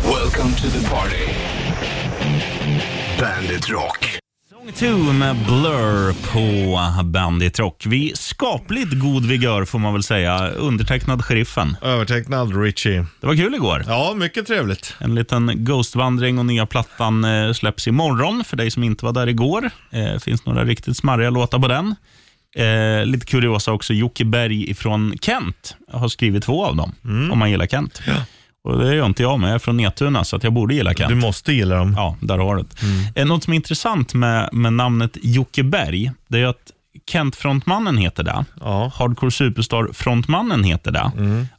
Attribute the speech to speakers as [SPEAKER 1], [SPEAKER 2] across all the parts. [SPEAKER 1] Welcome to the party. Bandit Rock.
[SPEAKER 2] Song 2 med Blur på Bandit Rock. Vi skapligt god vigör får man väl säga. Undertecknad sheriffen.
[SPEAKER 3] Övertecknad Richie.
[SPEAKER 2] Det var kul igår.
[SPEAKER 3] Ja, mycket trevligt.
[SPEAKER 2] En liten ghostvandring och nya plattan eh, släpps imorgon för dig som inte var där igår. Eh, finns några riktigt smarriga låtar på den. Eh, lite kuriosa också, Jocke Berg ifrån Kent har skrivit två av dem, om man gillar Kent. Och Det gör inte jag, men jag är från Netuna, så att jag borde gilla Kent.
[SPEAKER 3] Du måste gilla dem.
[SPEAKER 2] Ja, där har du det.
[SPEAKER 3] Mm.
[SPEAKER 2] Eh, Något som är intressant med, med namnet Jocke Berg, det är ju att Kent-frontmannen heter det.
[SPEAKER 3] Ja. Mm.
[SPEAKER 2] Hardcore Superstar-frontmannen heter det.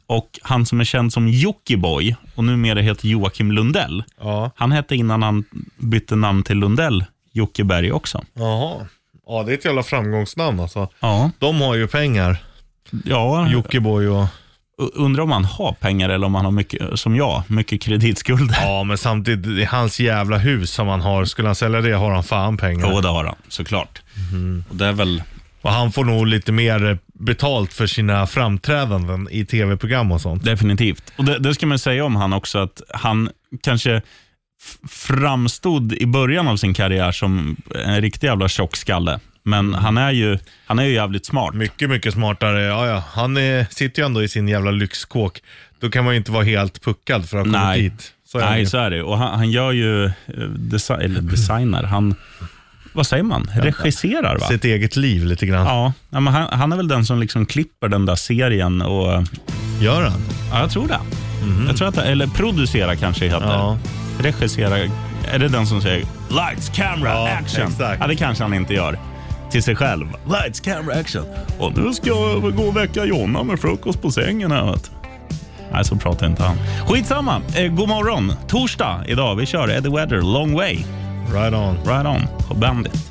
[SPEAKER 2] Och han som är känd som Jockiboi och numera heter Joakim Lundell.
[SPEAKER 3] Ja.
[SPEAKER 2] Han hette innan han bytte namn till Lundell, Jocke Berg också.
[SPEAKER 3] Jaha. Ja, det är ett jävla framgångsnamn alltså.
[SPEAKER 2] Ja,
[SPEAKER 3] De har ju pengar.
[SPEAKER 2] ja
[SPEAKER 3] Jockiboi och...
[SPEAKER 2] u- undrar om han har pengar eller om han har mycket, som jag, mycket kreditskulder.
[SPEAKER 3] Ja, men samtidigt, det är hans jävla hus som han har. Skulle han sälja det har han fan pengar.
[SPEAKER 2] Jo, det har han såklart.
[SPEAKER 3] Mm.
[SPEAKER 2] Och det är väl
[SPEAKER 3] Och han får nog lite mer betalt för sina framträdanden i tv-program och sånt.
[SPEAKER 2] Definitivt. Och det, det ska man säga om han också, att han kanske f- framstod i början av sin karriär som en riktig jävla tjockskalle. Men han är ju, han är ju jävligt smart.
[SPEAKER 3] Mm. Mycket, mycket smartare. Ja, ja. Han är, sitter ju ändå i sin jävla lyxkåk. Då kan man ju inte vara helt puckad för att komma
[SPEAKER 2] Nej.
[SPEAKER 3] dit. Så är det ju.
[SPEAKER 2] Nej, så är det. Och han, han gör ju, eh, desi- eller designar, han, vad säger man? Regisserar va?
[SPEAKER 3] Sitt eget liv lite grann.
[SPEAKER 2] Ja, ja, men han, han är väl den som liksom klipper den där serien och, eh,
[SPEAKER 3] Gör han?
[SPEAKER 2] ja jag tror det. Jag tror att det, eller producera kanske heter.
[SPEAKER 3] Mhm. Ja.
[SPEAKER 2] Regissera, är det den som säger lights, camera,
[SPEAKER 3] Ja,
[SPEAKER 2] action?
[SPEAKER 3] exakt.
[SPEAKER 2] Ja, det kanske han inte gör. Till sig själv. Lights, camera, action. Och nu ska jag väl gå och väcka Jonna med frukost på sängen här vet. Nej, så pratar inte han. Skitsamma. Eh, god morgon. Torsdag idag. Vi kör Eddie Weather, long way.
[SPEAKER 3] Right on.
[SPEAKER 2] Right on på Bandit.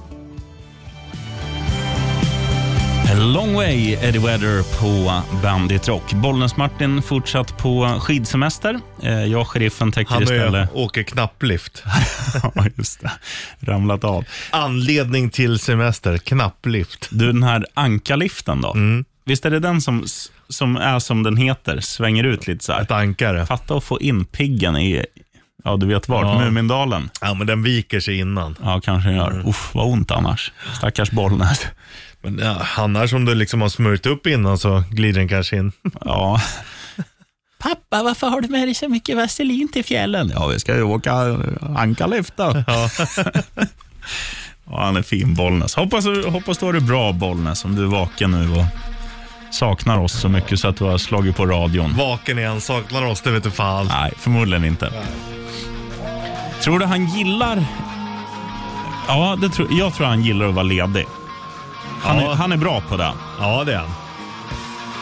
[SPEAKER 2] A long way, Eddie Weather på Bandit Rock. Bollnäs-Martin fortsatt på skidsemester. Eh, Jag och sheriffen täcker
[SPEAKER 3] Han
[SPEAKER 2] istället...
[SPEAKER 3] är, åker knapplift.
[SPEAKER 2] ja, just det. Ramlat av.
[SPEAKER 3] Anledning till semester, knapplift.
[SPEAKER 2] Du, den här ankaliften då.
[SPEAKER 3] Mm.
[SPEAKER 2] Visst är det den som, som är som den heter, svänger ut lite så här?
[SPEAKER 3] Ett ankare.
[SPEAKER 2] Fatta att få in piggen i, ja du vet vart,
[SPEAKER 3] Ja.
[SPEAKER 2] Mumindalen.
[SPEAKER 3] Ja, men den viker sig innan.
[SPEAKER 2] Ja, kanske den gör.
[SPEAKER 3] Mm.
[SPEAKER 2] Uff, vad ont annars. Stackars Bollnäs.
[SPEAKER 3] Men ja, annars om du liksom har smörjt upp innan så glider den kanske in.
[SPEAKER 2] Ja. Pappa, varför har du med dig så mycket vaselin till fjällen? Ja, vi ska ju åka ankarlift då. Ja. han är fin, Bollnäs. Hoppas, du- hoppas du har det bra, Bollnäs, om du är vaken nu och saknar oss så mycket så att du har slagit på radion.
[SPEAKER 3] Vaken är han, saknar oss, det vet du fan.
[SPEAKER 2] Nej, förmodligen inte. Tror du han gillar... Ja, det tror, jag tror han gillar att vara ledig. Han,
[SPEAKER 3] Ja.
[SPEAKER 2] är, han är bra på det.
[SPEAKER 3] Ja, det är han.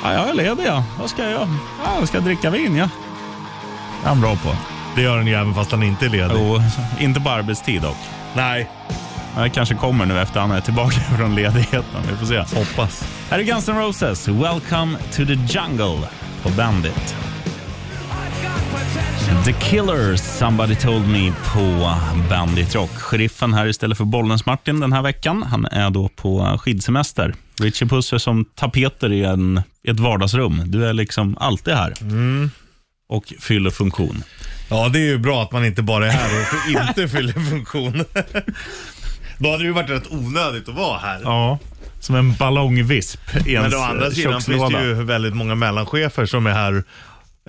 [SPEAKER 2] Ja, jag är ledig, ja. Vad ska jag göra? Ja, jag ska dricka vin, ja. Det är han bra på.
[SPEAKER 3] Det gör han ju även fast han inte är ledig.
[SPEAKER 2] Jo, inte på arbetstid dock.
[SPEAKER 3] Nej,
[SPEAKER 2] Men det kanske kommer nu efter han är tillbaka från ledigheten. Vi får se.
[SPEAKER 3] hoppas.
[SPEAKER 2] Här är Guns N' Roses. Welcome to the jungle på Bandit. The Killers, Somebody Told Me på Bandit Rock. Sheriffen här istället för Bollnäs-Martin den här veckan. Han är då på skidsemester. Richie Puss är som tapeter i, en, i ett vardagsrum. Du är liksom alltid här och fyller funktion.
[SPEAKER 3] Ja, det är ju bra att man inte bara är här och inte fyller funktion. Då hade det ju varit rätt onödigt att vara här.
[SPEAKER 2] Ja, som en ballongvisp i
[SPEAKER 3] Men
[SPEAKER 2] ens
[SPEAKER 3] å andra sidan finns det
[SPEAKER 2] kökslåda.
[SPEAKER 3] ju väldigt många mellanchefer som är här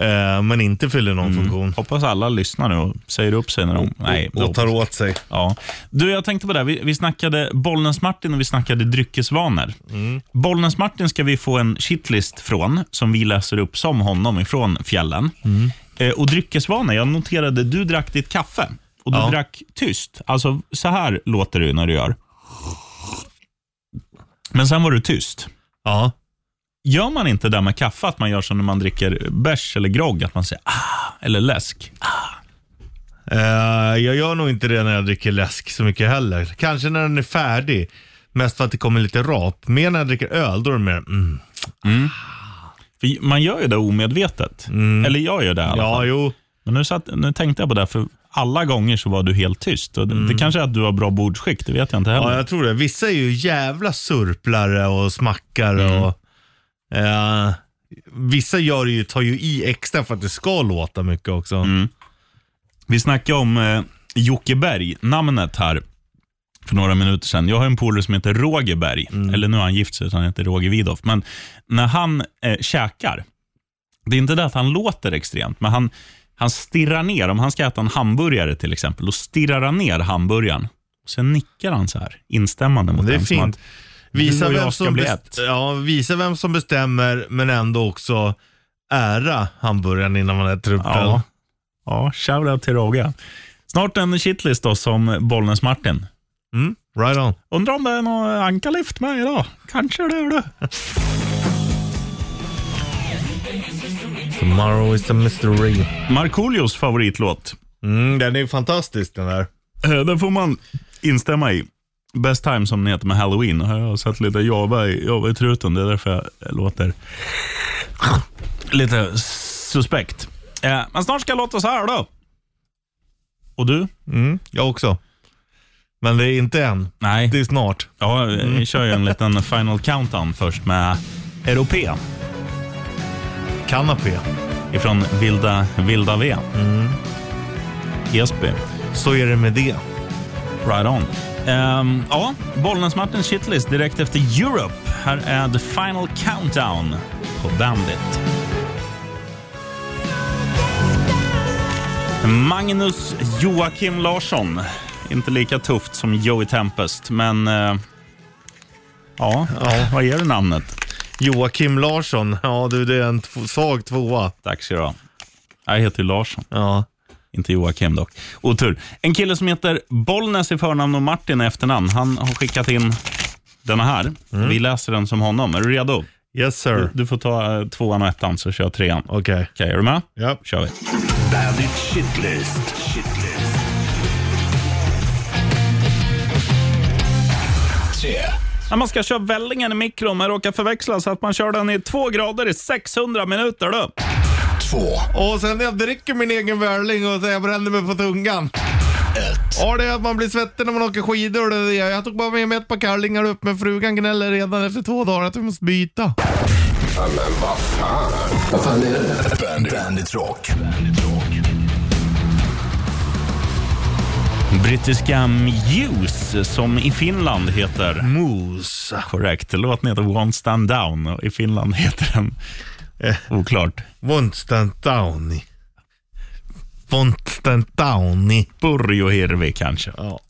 [SPEAKER 3] eh, men inte fyller
[SPEAKER 2] Mm.
[SPEAKER 3] någon funktion.
[SPEAKER 2] Hoppas alla lyssnar nu och säger upp sig när de... Nej, det
[SPEAKER 3] Och
[SPEAKER 2] hoppas-
[SPEAKER 3] tar åt sig.
[SPEAKER 2] ja. Du, jag tänkte på det. här. Vi, vi snackade Bollnäs-Martin och vi snackade dryckesvanor.
[SPEAKER 3] Mm.
[SPEAKER 2] Bollnäs-Martin ska vi få en shitlist från, som vi läser upp som honom ifrån fjällen.
[SPEAKER 3] Mm.
[SPEAKER 2] Eh, och dryckesvanor, jag noterade du drack ditt kaffe. Och du
[SPEAKER 3] Ja.
[SPEAKER 2] drack tyst. Alltså, så här låter det ju när du gör. Men sen var du tyst.
[SPEAKER 3] Ja.
[SPEAKER 2] Gör man inte det med kaffe, att man gör som när man dricker bärs eller grogg, att man säger ah, eller läsk?
[SPEAKER 3] Eh, jag gör nog inte det när jag dricker läsk så mycket heller. Kanske när den är färdig. Mest för att det kommer lite rap. Mer när jag dricker öl, då är det mer mm.
[SPEAKER 2] För man gör ju det omedvetet. Eller jag gör det i alla
[SPEAKER 3] Ja,
[SPEAKER 2] fall.
[SPEAKER 3] jo.
[SPEAKER 2] Men nu, satt, nu tänkte jag på det, för alla gånger så var du helt tyst. Och det, det kanske är att du har bra bordsskick, det vet jag inte heller.
[SPEAKER 3] Ja, jag tror det. Vissa är ju jävla surplare och smackare
[SPEAKER 2] Mm.
[SPEAKER 3] och... eh, vissa gör det ju, tar ju i extra för att det ska låta mycket också.
[SPEAKER 2] Vi snackade om eh, Jocke Berg, namnet här, för några minuter sedan. Jag har en polare som heter Roger Berg,
[SPEAKER 3] Mm.
[SPEAKER 2] eller nu har han gift sig så han heter Roger Widoff. Men när han eh, käkar, det är inte det att han låter extremt, men han, han stirrar ner. Om han ska äta en hamburgare till exempel, då stirrar han ner hamburgaren. Och sen nickar han så här instämmande mot
[SPEAKER 3] Det är
[SPEAKER 2] den. som
[SPEAKER 3] fint.
[SPEAKER 2] att
[SPEAKER 3] Visa
[SPEAKER 2] du och jag
[SPEAKER 3] vem,
[SPEAKER 2] ska
[SPEAKER 3] som
[SPEAKER 2] bli
[SPEAKER 3] best-
[SPEAKER 2] ett.
[SPEAKER 3] ja, visa vem som bestämmer men ändå också ära hamburgaren innan man äter upp den.
[SPEAKER 2] Ja, ja shoutout till Roger. Snart en shitlist då som Bollnäs-Martin.
[SPEAKER 3] Mm, right on.
[SPEAKER 2] Undrar om det är någon ankarlift med idag? Kanske det är det.
[SPEAKER 3] Tomorrow is a mystery.
[SPEAKER 2] Markoolios favoritlåt.
[SPEAKER 3] Mm, den är ju fantastisk den här.
[SPEAKER 2] Eh, Den får man instämma i. Best time som den heter med Halloween. Här har Jag har sett lite Java i, Java i truten. Det är därför jag eh, låter lite suspekt. Eh, Men snart ska jag låta så här då. Och du?
[SPEAKER 3] Mm, jag också. Men det är inte än.
[SPEAKER 2] Nej.
[SPEAKER 3] Det är snart.
[SPEAKER 2] Ja, vi kör ju en liten final countdown först med Europé
[SPEAKER 3] Kanapé.
[SPEAKER 2] ifrån Vilda, Vilda V. Esby.
[SPEAKER 3] Så är det med det.
[SPEAKER 2] Right on. Ehm, ja, Bollnäs-Martins shitlist direkt efter Europe. Här är The Final Countdown på Bandit. Magnus Joakim Larsson. Inte lika tufft som Joey Tempest, men... eh, ja, vad ger du namnet?
[SPEAKER 3] Joakim Larsson. Ja, du, det är en tv- svag tvåa.
[SPEAKER 2] Tack ska du ha. Jag heter ju Larsson.
[SPEAKER 3] Ja.
[SPEAKER 2] Inte Joakim dock. Otur. En kille som heter Bollnäs i förnamn och Martin i efternamn. Han har skickat in denna här.
[SPEAKER 3] Mm.
[SPEAKER 2] Vi läser den som honom. Är du redo?
[SPEAKER 3] Yes sir.
[SPEAKER 2] Du får ta eh, tvåan och ettan så kör jag trean. Okej,
[SPEAKER 3] Okej.
[SPEAKER 2] är du med?
[SPEAKER 3] Ja.
[SPEAKER 2] kör vi.
[SPEAKER 1] Bandit Shitlist. Shitlist. Tre.
[SPEAKER 2] När man ska köra vällingen i mikron men råkar förväxla så att man kör den i två grader i 600 minuter. Då.
[SPEAKER 1] Två.
[SPEAKER 3] Och sen när jag dricker min egen värling och så jag bränner mig på tungan.
[SPEAKER 1] Ett.
[SPEAKER 3] Ja, det är att man blir svettig när man åker skidor. Det är det. Jag tog bara med mig ett par kallingar upp, men frugan gnäller redan efter två dagar att vi måste byta.
[SPEAKER 1] Bandit. Bandit Rock.
[SPEAKER 2] Brittiska Muse som i Finland heter...
[SPEAKER 3] Moose.
[SPEAKER 2] Korrekt. Låten heter One Stand Down och i Finland heter den... eh, Oklart.
[SPEAKER 3] Vonstentauni. Vonstentauni.
[SPEAKER 2] Burjo Hirvi kanske.
[SPEAKER 3] Ja.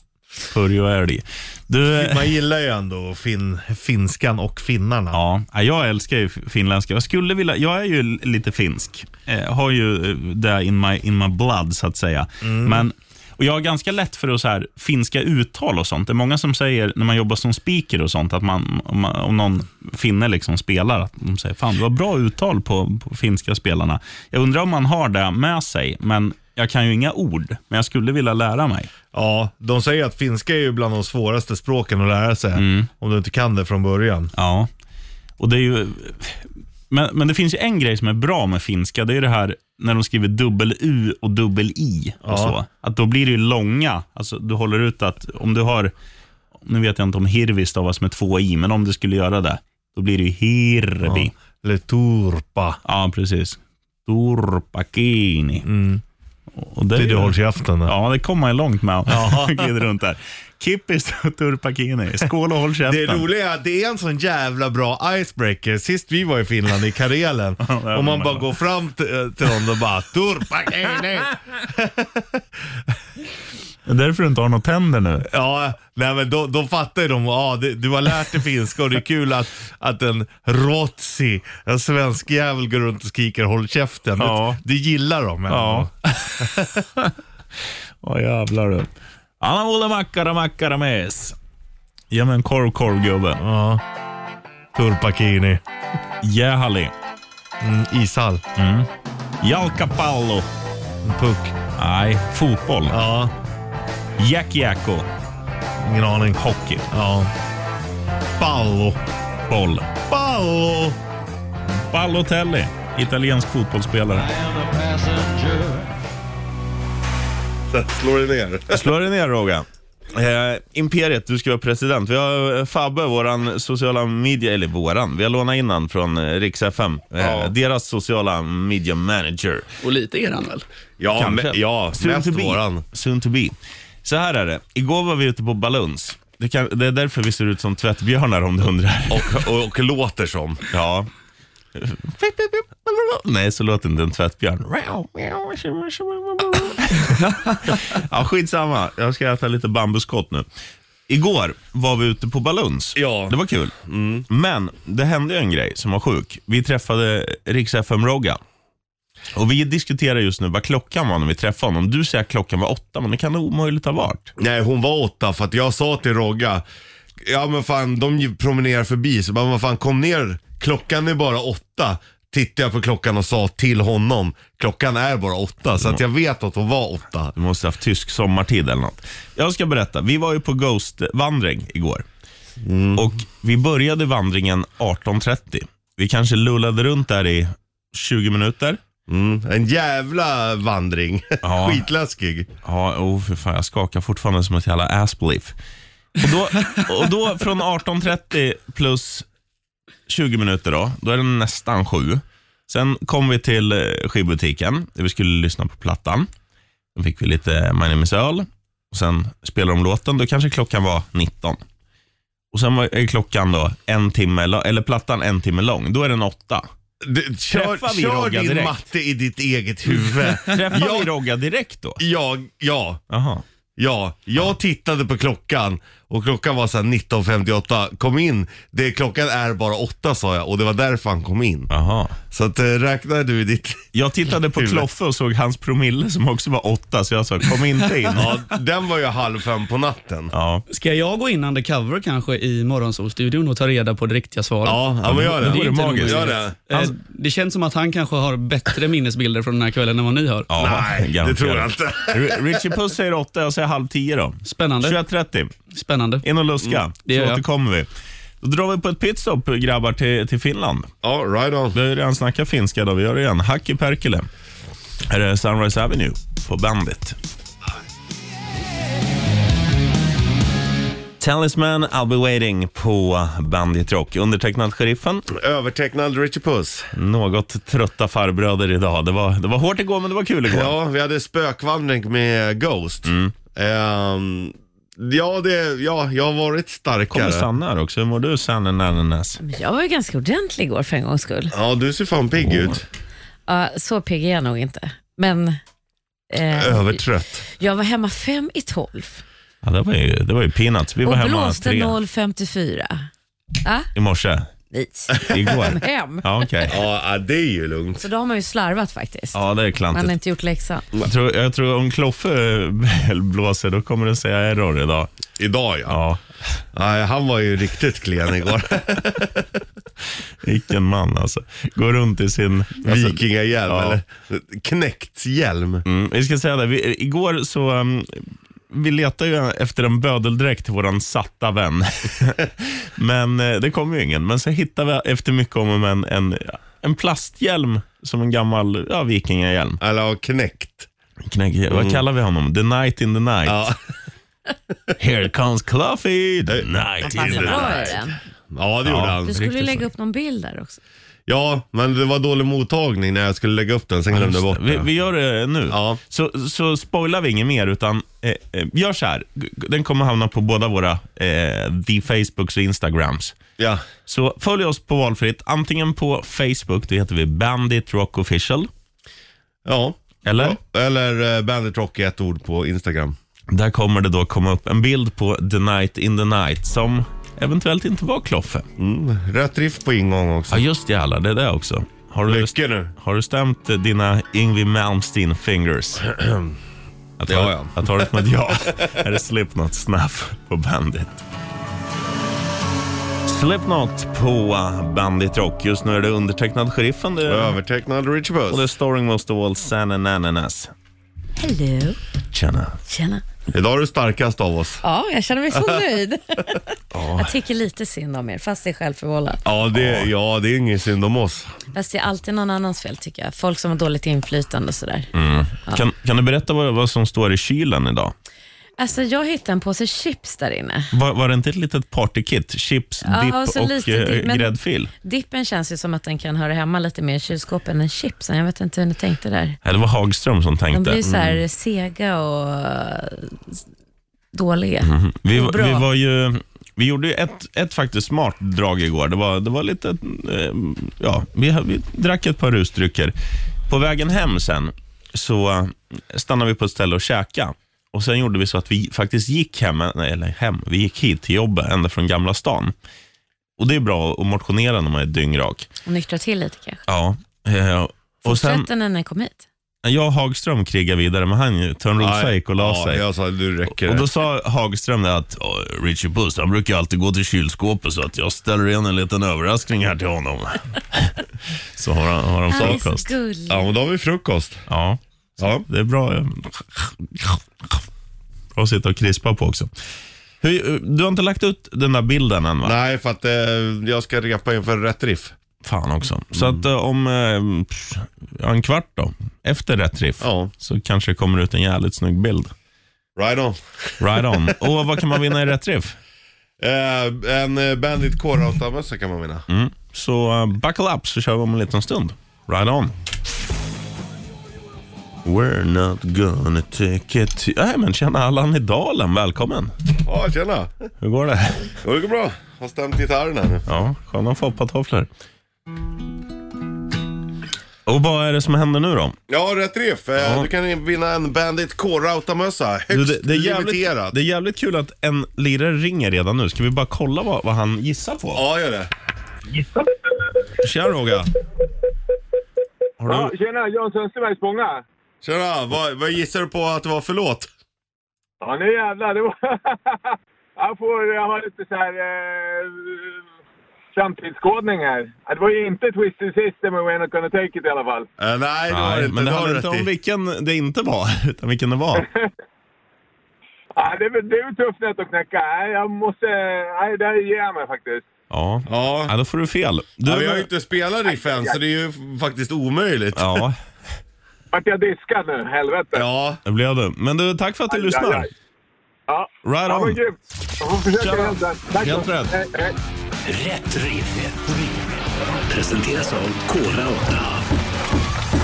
[SPEAKER 2] Burjo Älg. Du, eh,
[SPEAKER 3] Man gillar ju ändå fin, finskan och finnarna.
[SPEAKER 2] Ja, ja, jag älskar ju finländska. Jag skulle vilja, jag är ju l- lite finsk. Eh, har ju eh, det in my, in my blood, så att säga. Men, och jag har ganska lätt för att så här, finska uttal och sånt. Det är många som säger, när man jobbar som speaker och sånt, att man, om, man, om någon finne liksom spelar, att de säger fan, du har bra uttal på, på finska spelarna. Jag undrar om man har det med sig, men jag kan ju inga ord, men jag skulle vilja lära mig.
[SPEAKER 3] Ja, de säger att finska är ju bland de svåraste språken att lära sig. Om du inte kan det från början.
[SPEAKER 2] Ja, och det är ju... Men, men det finns ju en grej som är bra med finska. Det är det här när de skriver dubbel-u och dubbel-i. och
[SPEAKER 3] Ja.
[SPEAKER 2] så. Att då blir det ju långa. Alltså, du håller ut att om du har... Nu vet jag inte om hirvi stavas med två i, men om du skulle göra det, då blir det ju hirvi. Ja,
[SPEAKER 3] Le turpa.
[SPEAKER 2] precis. Turpakini. Och det är
[SPEAKER 3] Mm. Det är
[SPEAKER 2] ju-
[SPEAKER 3] du håller käften. där.
[SPEAKER 2] Ja, det kommer man ju långt med. Glider runt där. Kippis och turpakini. Skål och håll käften.
[SPEAKER 3] Det roliga är att det är en sån jävla bra icebreaker. Sist vi var i Finland, i Karelen,
[SPEAKER 2] var
[SPEAKER 3] och man
[SPEAKER 2] det.
[SPEAKER 3] bara går fram till, till dem och bara Turpakene.
[SPEAKER 2] Det är därför du inte har några tänder nu.
[SPEAKER 3] Ja, nej men då, då fattar ju de. Ja, det, du har lärt dig finska och det är kul att, att en rotsi, en svensk jävel går runt och skriker håll käften.
[SPEAKER 2] Ja.
[SPEAKER 3] Det, det gillar de. ändå.
[SPEAKER 2] Ja. Åh jävlar du. Anna Olle Mackara Mackara Mes. Ge mig en korv korv gubben.
[SPEAKER 3] ja. Turpakini.
[SPEAKER 2] Jähali.
[SPEAKER 3] Mm, ishall.
[SPEAKER 2] Jalkapallo.
[SPEAKER 3] En puck.
[SPEAKER 2] Nej, fotboll.
[SPEAKER 3] Ja,
[SPEAKER 2] Jack Jacko.
[SPEAKER 3] ingen aning.
[SPEAKER 2] Hockey.
[SPEAKER 3] Ja. Pallo.
[SPEAKER 2] Boll.
[SPEAKER 3] Pallo.
[SPEAKER 2] Ballotelli. Italiensk fotbollsspelare.
[SPEAKER 3] Slår det ner.
[SPEAKER 2] Slå dig ner Roga. Eh, Imperiet, du ska vara president. Vi har eh, Fabbe, våran sociala media, eller våran, vi har lånat in han från eh, Rix FM. Eh,
[SPEAKER 4] Ja.
[SPEAKER 2] Deras sociala media manager.
[SPEAKER 4] Och lite är han väl?
[SPEAKER 2] Ja,
[SPEAKER 3] me- ja, mest våran.
[SPEAKER 2] Soon to be. Så här är det. Igår var vi ute på Baluns. Det, kan, det är därför vi ser ut som tvättbjörnar om du undrar.
[SPEAKER 3] Och, och, och låter som.
[SPEAKER 2] Ja. Nej, så låter inte en tvättbjörn. Ja, skitsamma. Jag ska äta lite bambuskott nu. Igår var vi ute på Baluns.
[SPEAKER 3] Ja.
[SPEAKER 2] Det var kul. Men det hände ju en grej som var sjuk. Vi träffade Riks FM Rogga. Och vi diskuterar just nu vad klockan var när vi träffade honom. Du säger att klockan var åtta, men det kan det omöjligt ha varit.
[SPEAKER 3] Nej, hon var åtta för att jag sa till Rogga, ja men fan de ju promenerar förbi, så jag bara, vad fan kom ner, klockan är bara åtta. Tittade jag på klockan och sa till honom, klockan är bara åtta. Så att jag vet att hon var åtta.
[SPEAKER 2] Du måste ha haft tysk sommartid eller något. Jag ska berätta. Vi var ju på Ghost-vandring igår. Och Vi började vandringen 18.30. Vi kanske lullade runt där i 20 minuter.
[SPEAKER 3] Mm. En jävla vandring.
[SPEAKER 2] Ja.
[SPEAKER 3] Skitläskig.
[SPEAKER 2] Ja, oh, för fan, jag skakar fortfarande som ett jävla assbelief. Och då, och då från 18.30 plus 20 minuter då, då är det nästan sju. Sen kom vi till eh, skivbutiken där vi skulle lyssna på plattan. Då fick vi lite My name is Earl och sen spelade de låten. Då kanske klockan var 19. Och sen var är klockan då en timme, la- eller plattan en timme lång. Då är den åtta.
[SPEAKER 3] Du, kör
[SPEAKER 2] Träffar vi
[SPEAKER 3] kör
[SPEAKER 2] Rogga
[SPEAKER 3] din
[SPEAKER 2] direkt?
[SPEAKER 3] matte i ditt eget huvud.
[SPEAKER 2] Träffade
[SPEAKER 3] Ja.
[SPEAKER 2] vi Rogga direkt då?
[SPEAKER 3] jag, ja.
[SPEAKER 2] Jaha.
[SPEAKER 3] Ja, jag tittade på klockan och klockan var såhär 19.58. Kom in, det, klockan är bara åtta sa jag och det var därför han kom in.
[SPEAKER 2] Jaha.
[SPEAKER 3] Så att, eh, räknar du ditt...
[SPEAKER 2] Jag tittade på Kloffe och såg hans promille som också var åtta, så jag sa kom inte in. Ja.
[SPEAKER 3] Ja, den var ju halv fem på natten.
[SPEAKER 2] Ja.
[SPEAKER 4] Ska jag gå in undercover kanske i Morgonsolstudion och ta reda på det riktiga svaret?
[SPEAKER 3] Ja, ja men gör det.
[SPEAKER 4] Det är ju inte
[SPEAKER 2] magiskt.
[SPEAKER 3] Gör
[SPEAKER 4] omöjligt.
[SPEAKER 3] det.
[SPEAKER 4] Eh, Det känns som att han kanske har bättre minnesbilder från den här kvällen än vad ni har.
[SPEAKER 3] Nej, det
[SPEAKER 2] garanterat.
[SPEAKER 3] tror jag inte.
[SPEAKER 2] R- Richie Puss säger åtta, jag säger halv tio då.
[SPEAKER 4] Spännande.
[SPEAKER 2] 21.30.
[SPEAKER 4] Spännande.
[SPEAKER 2] In och luska,
[SPEAKER 4] det gör
[SPEAKER 2] så
[SPEAKER 4] jag.
[SPEAKER 2] återkommer vi. Då drar vi på ett pitstop grabbar till, till Finland.
[SPEAKER 3] Ja, right on.
[SPEAKER 2] Vi har ju redan snackat finska då, vi gör det igen. Hacki Perkele. Här är Sunrise Avenue på Bandit. Talisman, I'll be waiting på Bandit Rock. Undertecknad Sheriffen.
[SPEAKER 3] Övertecknad Richie Puss.
[SPEAKER 2] Något trötta farbröder idag. Det var, det var hårt igår, men det var kul igår.
[SPEAKER 3] Ja, vi hade spökvandring med Ghost. Ehm, ja, det, ja, jag har varit
[SPEAKER 2] Kommer
[SPEAKER 3] starkare.
[SPEAKER 2] Sanna här också. Hur mår du Sanne Nananas?
[SPEAKER 5] Men jag var ju ganska ordentlig igår för en gångs skull.
[SPEAKER 3] Ja, du ser fan pigg ut.
[SPEAKER 5] Ja, så pigg är jag nog inte. Men eh,
[SPEAKER 3] Övertrött.
[SPEAKER 5] jag var hemma fem i tolv
[SPEAKER 2] Ja, det, var ju, det var ju peanuts. Vi var
[SPEAKER 5] och
[SPEAKER 2] hemma
[SPEAKER 5] blåste
[SPEAKER 2] tre
[SPEAKER 5] 0,54. Ah,
[SPEAKER 2] i morse.
[SPEAKER 5] nej.
[SPEAKER 2] Igår.
[SPEAKER 5] Hem.
[SPEAKER 2] Ja, okej.
[SPEAKER 3] Ja, äh, det är ju lugnt.
[SPEAKER 5] Så då har man ju slarvat faktiskt.
[SPEAKER 2] Ja, det är
[SPEAKER 5] Man har
[SPEAKER 2] klantigt.
[SPEAKER 5] inte gjort läxan.
[SPEAKER 2] Jag tror, jag tror om Kloffe blåser, då kommer den säga error idag.
[SPEAKER 3] Idag ja.
[SPEAKER 2] Ja,
[SPEAKER 3] Nej, han var ju riktigt klen igår.
[SPEAKER 2] vilken man alltså. Går runt i sin... Alltså,
[SPEAKER 3] Vikingahjälm
[SPEAKER 2] ja.
[SPEAKER 3] eller knäckt hjälm.
[SPEAKER 2] Mm, vi ska säga det. Vi, igår så... um, vi letar ju efter en bödeldräkt till våran satta vän. men eh, det kom ju ingen. Men så hittade vi efter mycket om och men en, en plasthjälm som en gammal ja, vikingahjälm.
[SPEAKER 3] Eller ja, knäckt.
[SPEAKER 2] Knäck, Vad kallar vi honom? The night in the night.
[SPEAKER 3] Mm. Ja.
[SPEAKER 2] Here comes Cluffy, the night in
[SPEAKER 5] Passar
[SPEAKER 2] the
[SPEAKER 5] bra
[SPEAKER 2] night.
[SPEAKER 5] i den.
[SPEAKER 3] Ja, det gjorde
[SPEAKER 2] Ja.
[SPEAKER 5] Du
[SPEAKER 3] han.
[SPEAKER 5] skulle ju
[SPEAKER 2] Riktigt
[SPEAKER 5] lägga
[SPEAKER 2] så.
[SPEAKER 5] upp någon bild där också.
[SPEAKER 3] Ja, men det var dålig mottagning när jag skulle lägga upp den. Sen glömde jag bort
[SPEAKER 2] Vi,
[SPEAKER 3] den.
[SPEAKER 2] vi gör det eh, nu.
[SPEAKER 3] Ja.
[SPEAKER 2] Så, så spoilar vi inget mer, utan eh, eh, gör så här. G- g- Den kommer hamna på båda våra, eh, the Facebooks och Instagrams.
[SPEAKER 3] Ja.
[SPEAKER 2] Så följ oss på valfritt, antingen på Facebook, då heter vi Bandit Rock Official,
[SPEAKER 3] Ja.
[SPEAKER 2] eller?
[SPEAKER 3] Ja. Eller eh, Bandit Rock i ett ord på Instagram.
[SPEAKER 2] Där kommer det då komma upp en bild på The Night in the Night, som eventuellt inte var Kloffe.
[SPEAKER 3] Mm. Rätt riff på ingång också.
[SPEAKER 2] Ja, just det, alla, det är det också. Har du,
[SPEAKER 3] Lycka nu.
[SPEAKER 2] Har du stämt eh, dina Yngwie Malmsteen fingers? Jag tar,
[SPEAKER 3] Ja, ja.
[SPEAKER 2] jag tar det som ett ja. Här är Slipknot Snuff på Bandit. Slipknot på eh, Bandit Rock. Just nu är det undertecknad sheriffen. Det är,
[SPEAKER 3] Övertecknad Richie
[SPEAKER 2] och det är
[SPEAKER 3] Puss.
[SPEAKER 2] Storing Most of All San and Ananas.
[SPEAKER 5] Hello.
[SPEAKER 2] Tjena.
[SPEAKER 5] Tjena.
[SPEAKER 3] Idag är du starkast av oss.
[SPEAKER 5] Ja, jag känner mig så nöjd. Jag tycker lite synd om er, fast det är självförvållat.
[SPEAKER 3] Ja, det, ja, det är ingen synd om oss.
[SPEAKER 5] Fast det är alltid någon annans fel tycker jag.
[SPEAKER 2] Mm.
[SPEAKER 5] Folk som har dåligt inflytande och sådär.
[SPEAKER 2] Kan, kan du berätta vad, vad som står i kylen idag?
[SPEAKER 5] Alltså jag hittade en påse chips där inne.
[SPEAKER 2] Var, var det inte ett litet partykit? Chips,
[SPEAKER 5] Ja,
[SPEAKER 2] dipp
[SPEAKER 5] och
[SPEAKER 2] och,
[SPEAKER 5] så lite dipp,
[SPEAKER 2] eh,
[SPEAKER 5] men-
[SPEAKER 2] gräddfil?
[SPEAKER 5] Dippen känns ju som att den kan höra hemma lite mer i kylskåpen än chipsen. Jag vet inte hur ni tänkte där.
[SPEAKER 2] Ja, det var Hagström som
[SPEAKER 5] De
[SPEAKER 2] tänkte.
[SPEAKER 5] blir ju så
[SPEAKER 2] Mm.
[SPEAKER 5] här sega och eh, dåliga.
[SPEAKER 2] Vi,
[SPEAKER 5] Och bra.
[SPEAKER 2] vi var ju... Vi gjorde ju ett, ett faktiskt smart drag igår. Det var, det var lite... Eh, ja, vi, vi drack ett par rusdrycker. På vägen hem sen så stannade vi på ett ställe och käkade. Och sen gjorde vi så att vi faktiskt gick hem, nej, eller hem, vi gick hit till jobbet ända från Gamla stan. Och det är bra att motionera när man är dyngrak.
[SPEAKER 5] Och nyktra till lite kanske.
[SPEAKER 2] Ja. Eh, och sen,
[SPEAKER 5] Fortsätter när ni kom hit.
[SPEAKER 2] jag och Hagström krigade vidare, men han ju törnrosade gick och la
[SPEAKER 3] ja,
[SPEAKER 2] sig.
[SPEAKER 3] Jag sa nu räcker
[SPEAKER 2] Och
[SPEAKER 3] det.
[SPEAKER 2] då sa Hagström det att "Ja, Richie Puss, han brukar alltid gå till kylskåpet så att jag ställer in en liten överraskning här till honom. så har han, har han
[SPEAKER 5] Han är så
[SPEAKER 2] frukost.
[SPEAKER 5] gullig.
[SPEAKER 3] Ja, men då har vi frukost.
[SPEAKER 2] Ja,
[SPEAKER 3] Ja.
[SPEAKER 2] det är bra. eh, Bra att sitta och krispa på också. Hur, du har inte lagt ut den där bilden än va?
[SPEAKER 3] Nej, för att eh, jag ska repa inför rätt riff.
[SPEAKER 2] Fan också. Så att eh, om eh, pff, ja, en kvart då, efter rätt riff,
[SPEAKER 3] Ja.
[SPEAKER 2] så kanske det kommer ut en jävligt snygg bild.
[SPEAKER 3] Right on.
[SPEAKER 2] Right on. och vad kan man vinna i rätt riff?
[SPEAKER 3] Eh, en eh, Bandit K-Rauta-mössa kan man vinna.
[SPEAKER 2] Så eh, buckle up så kör vi om en liten stund. Right on. We're not gonna take it. Nej men tjena Allan i Dalen, välkommen.
[SPEAKER 3] Ja, tjena.
[SPEAKER 2] Hur går det?
[SPEAKER 3] Jo, Det går bra. Har stämt gitarren här nu.
[SPEAKER 2] Ja, sköna foppatofflor. Och vad är det som händer nu då?
[SPEAKER 3] Ja, rätt riff. Eh,
[SPEAKER 2] Ja.
[SPEAKER 3] Du kan vinna en Bandit K-Rauta-mössa. Högst
[SPEAKER 2] Du, det, det, är jävligt,
[SPEAKER 3] limiterat.
[SPEAKER 2] det är jävligt kul att en lirare ringer redan nu. Ska vi bara kolla vad, vad han gissar på?
[SPEAKER 3] Ja, gör det.
[SPEAKER 2] Tja Roga. Har du...
[SPEAKER 6] Ja, tjena, Jan Sundström i Spånga.
[SPEAKER 3] Tjena, vad, vad gissar du på att det var för låt?
[SPEAKER 6] Ja, nu jävlar. Det var... jag, får, jag har lite så här... Eh, framtidsskådning här. Ja, Det var ju inte Twisted Sister med We're Not Gonna Take It i alla fall.
[SPEAKER 3] Eh, nej, det var det
[SPEAKER 2] Nej,
[SPEAKER 3] inte.
[SPEAKER 2] men det
[SPEAKER 3] har du
[SPEAKER 2] handlar inte
[SPEAKER 3] rätt
[SPEAKER 2] om
[SPEAKER 3] i.
[SPEAKER 2] vilken det inte var, utan vilken det var.
[SPEAKER 6] Ja, det, är väl- det är väl tufft nöt att knäcka. Nej, jag måste... Nej, där ger jag mig faktiskt.
[SPEAKER 2] Ja.
[SPEAKER 3] Ja.
[SPEAKER 2] Ja, då får du fel. Du,
[SPEAKER 3] Ja, vi har ju inte spelat riff än, så det är ju f- faktiskt omöjligt.
[SPEAKER 2] Ja,
[SPEAKER 6] Vart jag diskad nu? Helvete.
[SPEAKER 3] Ja,
[SPEAKER 2] det blev du. Men du, tack för att du
[SPEAKER 6] Aj,
[SPEAKER 2] lyssnar.
[SPEAKER 6] aj, aj. Ja.
[SPEAKER 2] Right
[SPEAKER 6] Ja, men
[SPEAKER 2] on.
[SPEAKER 6] grymt. Jag får försöka
[SPEAKER 2] Tjena.
[SPEAKER 6] hämta. Tack
[SPEAKER 2] Helt
[SPEAKER 6] så-
[SPEAKER 2] rätt.
[SPEAKER 6] Hej, hej.
[SPEAKER 1] Rätt riff. Presenteras av K-Rauta.